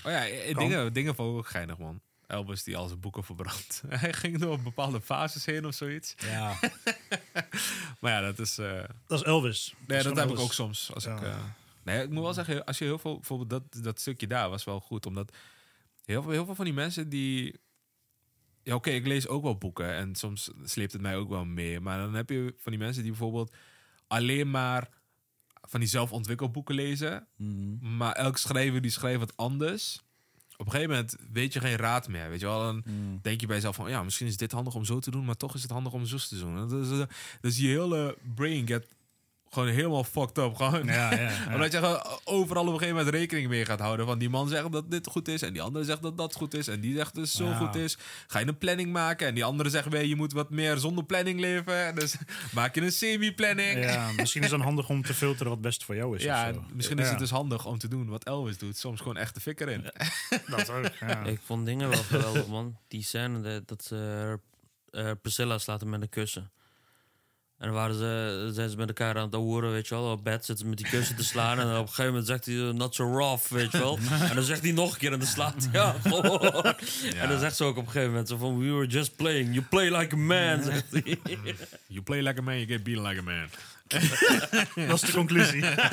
Oh ja, eh, dingen, dingen van ook geinig, man. Elvis die al zijn boeken verbrandt. Hij ging door bepaalde fases heen of zoiets. Ja. Maar ja, dat is. eh, Dat is Elvis. nee, is dat gewoon heb ik Elvis. ook soms. Als Ja. ik, eh, nee, ik moet wel zeggen, als je heel veel. Bijvoorbeeld dat, dat stukje daar was wel goed. Omdat heel veel, heel veel van die mensen die. Ja, oké, ik lees ook wel boeken en soms sleept het mij ook wel mee. Maar dan heb je van die mensen die bijvoorbeeld alleen maar van die zelfontwikkelboeken lezen. Mhm. Maar elk schrijver die schrijft wat anders. Op een gegeven moment weet je geen raad meer. Weet je wel, dan Mhm. denk je bij jezelf van ja, misschien is dit handig om zo te doen, maar toch is het handig om zo te doen. Dus, eh, dus je hele brain get gewoon helemaal fucked up. Gewoon. Ja, ja, ja. Omdat je gewoon overal op een gegeven moment rekening mee gaat houden. Van die man zegt dat dit goed is. En die andere zegt dat dat goed is. En die zegt dus zo Ja. goed is. Ga je een planning maken. En die andere zegt weer je moet wat meer zonder planning leven. Dus maak je een semi-planning. Ja, Ja, misschien is het dan handig om te filteren wat best voor jou is. of zo. en misschien is Ja. het dus handig om te doen wat Elvis doet. Soms gewoon echt de fikker in. Dat ook, ja. Ik vond dingen wel geweldig, man. Die scène dat- dat ze eh, eh, Priscilla slaat hem met een kussen. En dan waren ze, zijn ze met elkaar aan het horen, weet je wel. Op bed zitten met die kussen te slaan. En op een gegeven moment zegt hij, eh, not so rough, weet je wel. En dan zegt hij nog een keer en dan slaat hij ja, gewoon. En dan zegt ze ook op een gegeven moment zo van... We were just playing. You play like a man, zegt hij. You play like a man, you get beaten like a man. Dat is de conclusie. ja,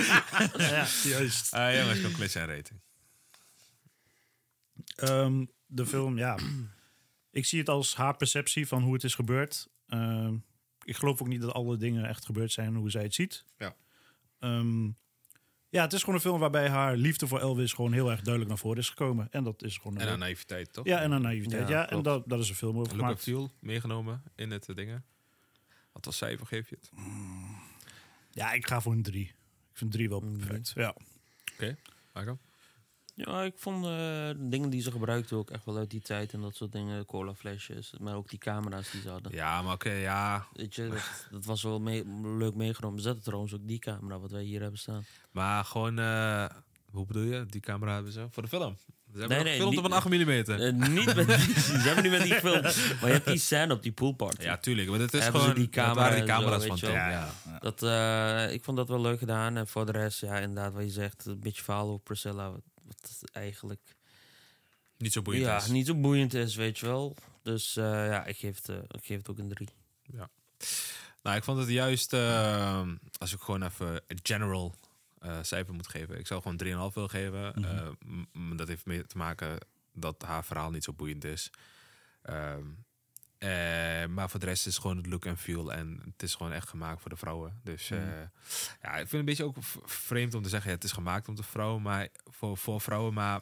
juist. Ah ja, maar is compleet zijn rating. Ehm, de film, ja. Ik zie het als haar perceptie van hoe het is gebeurd. Ehm, ik geloof ook niet dat alle dingen echt gebeurd zijn hoe zij het ziet. Ja. Ehm, Ja, het is gewoon een film waarbij haar liefde voor Elvis gewoon heel erg duidelijk naar voren is gekomen. En dat is gewoon... een- En aan naïviteit, toch? ja, en aan naïviteit. Ja, Ja, en klopt. dat, dat is een film over Look gemaakt. of Fuel meegenomen in het eh, dingen. Wat was cijfer geef je het? Ja, ik ga voor een drie. Ik vind drie wel perfect. Ja. Oké, Marco? Ja, ik vond eh, de dingen die ze gebruikten ook echt wel uit die tijd en dat soort dingen. Cola flesjes, maar ook die camera's die ze hadden. Ja, maar oké, ja. Weet je, dat, dat was wel mee- leuk meegenomen. Ze hadden trouwens ook die camera wat wij hier hebben staan. Maar gewoon, eh, hoe bedoel je? Die camera hebben ze voor de film. Ze hebben Nee, nog nee, gefilmd niet- op een 8 mm. Eh, niet met die, ze hebben niet met die film. Maar je hebt die scène op die poolparty. ja, tuurlijk. Want het is Hebben ze gewoon, die dat waren camera die en zo, camera's weet van je toen. wel. Ja. Dat, eh, ik vond dat wel leuk gedaan. En voor de rest, ja, inderdaad, wat je zegt, een beetje verhaal over Priscilla. Wat, wat eigenlijk Niet zo boeiend ja, is. niet zo boeiend is, weet je wel. Dus eh, ja, ik geef, het, eh, ik geef het ook een 3. Nou, ik vond het juist, eh, als ik gewoon even een general eh, cijfer moet geven. Ik zou gewoon 3,5 willen geven. Eh, m- m- dat heeft meer te maken dat haar verhaal niet zo boeiend is. Ehm, eh, maar voor de rest is het gewoon het look en feel. En het is gewoon echt gemaakt voor de vrouwen. Dus eh, ja, ik vind het een beetje ook v- vreemd om te zeggen... Ja, het is gemaakt om de vrouwen, maar voor, voor vrouwen. Maar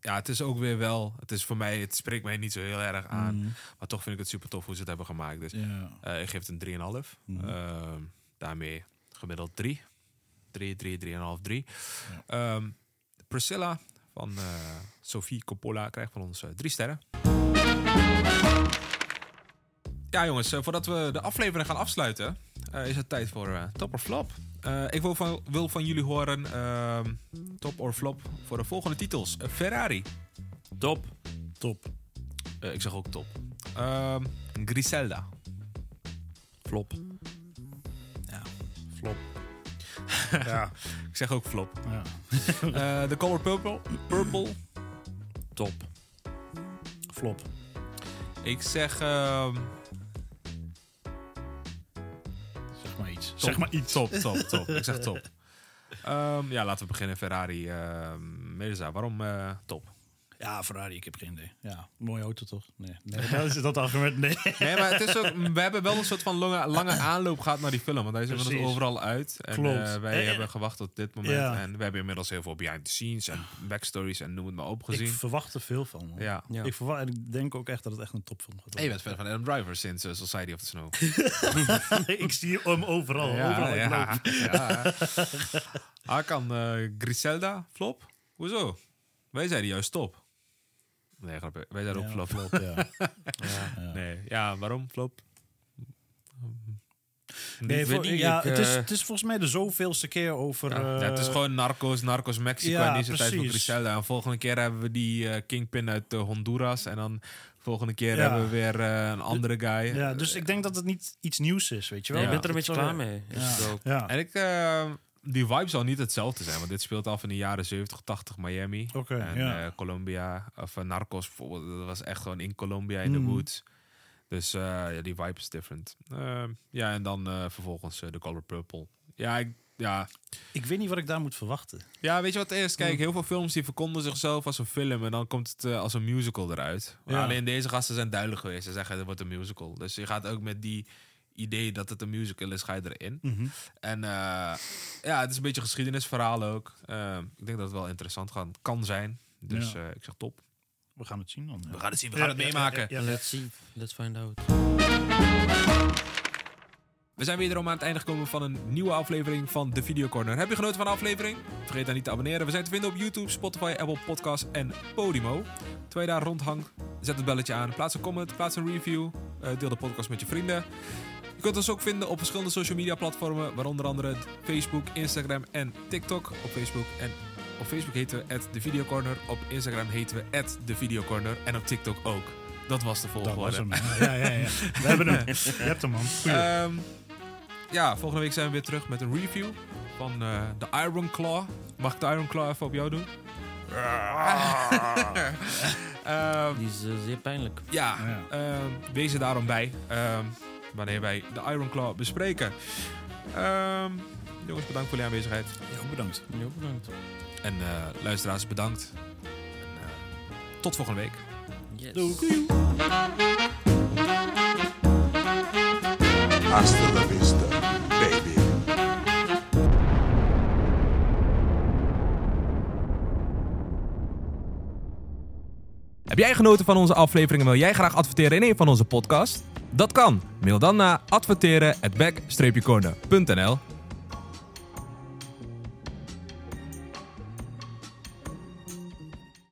ja, het is ook weer wel... Het is voor mij, het spreekt mij niet zo heel erg aan. Mhm. Maar toch vind ik het super tof hoe ze het hebben gemaakt. Dus Ja. eh, ik geef het een 3,5. Ehm, daarmee gemiddeld 3. 3, 3, 3,5, 3. Ehm, Priscilla van eh, Sophie Coppola krijgt van ons eh, drie sterren. Ja, jongens, eh, voordat we de aflevering gaan afsluiten, eh, is het tijd voor eh, top of flop. Eh, ik wil van, wil van jullie horen ehm, top of flop voor de volgende titels: Eh, Ferrari. Top. Top. Eh, ik zeg ook top. Ehm, Griselda. Flop. Flop. ja. Ik zeg ook flop. ja. Eh, The Color Purple. Purple. Top. Flop. Ik zeg. ehm, Zeg maar iets. top. Zeg maar iets. Top, top, top. ik zeg top. Ehm, ja, laten we beginnen. Ferrari. ehm Mirza, waarom eh, top? Ja, Ferrari, ik heb geen idee. Ja, mooie auto toch? Nee. nee dat is dat argument. Nee. Nee, maar het is ook, we hebben wel een soort van lange, lange aanloop gehad naar die film. Want hij is inmiddels Precies. overal uit. En Klopt. eh, wij Eh, hebben gewacht tot dit moment. ja. En we hebben inmiddels heel veel behind the scenes en backstories en noem het maar op Ik gezien. verwacht er veel van. man. Ja. Ja. Ik verwacht, en ik denk ook echt dat het echt een topfilm gaat Hey, je bent fan van Adam Driver sinds eh, Society of the Snow. worden. ik zie hem overal. overal in loop. ja. Hakan, eh, Griselda, flop? Hoezo? Wij zeiden juist top. Nee, grapje. Wij zeiden ook Ja, flop. flop, ja. Nee, ja, waarom flop? Nee, weet voor- ik, ja, ik, het, is, eh, het is volgens mij de zoveelste keer over... Ja, eh, het is gewoon Narcos, Narcos Mexico ja, en deze tijd van precies. Griselda. En volgende keer hebben we die eh, Kingpin uit eh, Honduras. En dan volgende keer Ja. hebben we weer eh, een andere guy. Ja, dus ik denk dat het niet iets nieuws is, weet je wel. Nee, ik ben Dat er een beetje het klaar wel- mee. Is het ook. Ja, En ik, eh, die vibe zal niet hetzelfde zijn, want dit speelt af in de jaren 70, 80 Miami. Oké, en ja. eh, Colombia, of eh, Narcos bijvoorbeeld, dat was echt gewoon in Colombia Mm. in de woods. Dus eh, ja, die vibe is different. Eh, ja, en dan eh, vervolgens eh, The Color Purple. Ja, ik, ja. ik weet niet wat ik daar moet verwachten. ja, weet je wat het is? Kijk, heel veel films die verkonden zichzelf als een film en dan komt het eh, als een musical eruit. Maar Ja. Alleen deze gasten zijn duidelijk geweest. Ze zeggen, het wordt een musical. Dus je gaat ook met die idee dat het een musical is, ga je erin. Mhm. En eh, ja, het is een beetje een geschiedenisverhaal ook. Eh, ik denk dat het wel interessant gaan, kan zijn. Dus Ja. eh, ik zeg top. We gaan het zien dan. We gaan het zien, we gaan het meemaken. Ja, Let's see. Let's find out. We zijn weer aan het einde gekomen van een nieuwe aflevering van de Video Corner. Heb je genoten van de aflevering? Vergeet dan niet te abonneren. We zijn te vinden op YouTube, Spotify, Apple Podcasts en Podimo. Terwijl je daar rondhangt, zet het belletje aan. Plaats een comment, plaats een review. eh, Deel de podcast met je vrienden. Je kunt ons ook vinden op verschillende social media platformen, waaronder andere Facebook, Instagram en TikTok. Op Facebook, en, op Facebook heten we The Video Corner, op Instagram heten we The Video Corner en op TikTok ook. Dat was de dat volgorde. was hem. Ja, ja, ja. We hebben hem. Je hebt hem, man. Goeie. Ehm, ja, volgende week zijn we weer terug met een review van eh, de Iron Claw. Mag ik de Iron Claw even op jou doen? Ehm, Die is eh, zeer pijnlijk. ja, Ja. ehm, wees er daarom bij ehm, wanneer wij de Iron Claw bespreken. Ehm, jongens, bedankt voor jullie aanwezigheid. Ja, bedankt. Heel bedankt. En eh, luisteraars, bedankt. En, eh, tot volgende week. Yes. Hasta la vista, baby. Heb jij genoten van onze aflevering en wil jij graag adverteren in een van onze podcasts? Dat kan. Mail dan naar adverteren at back-corner.nl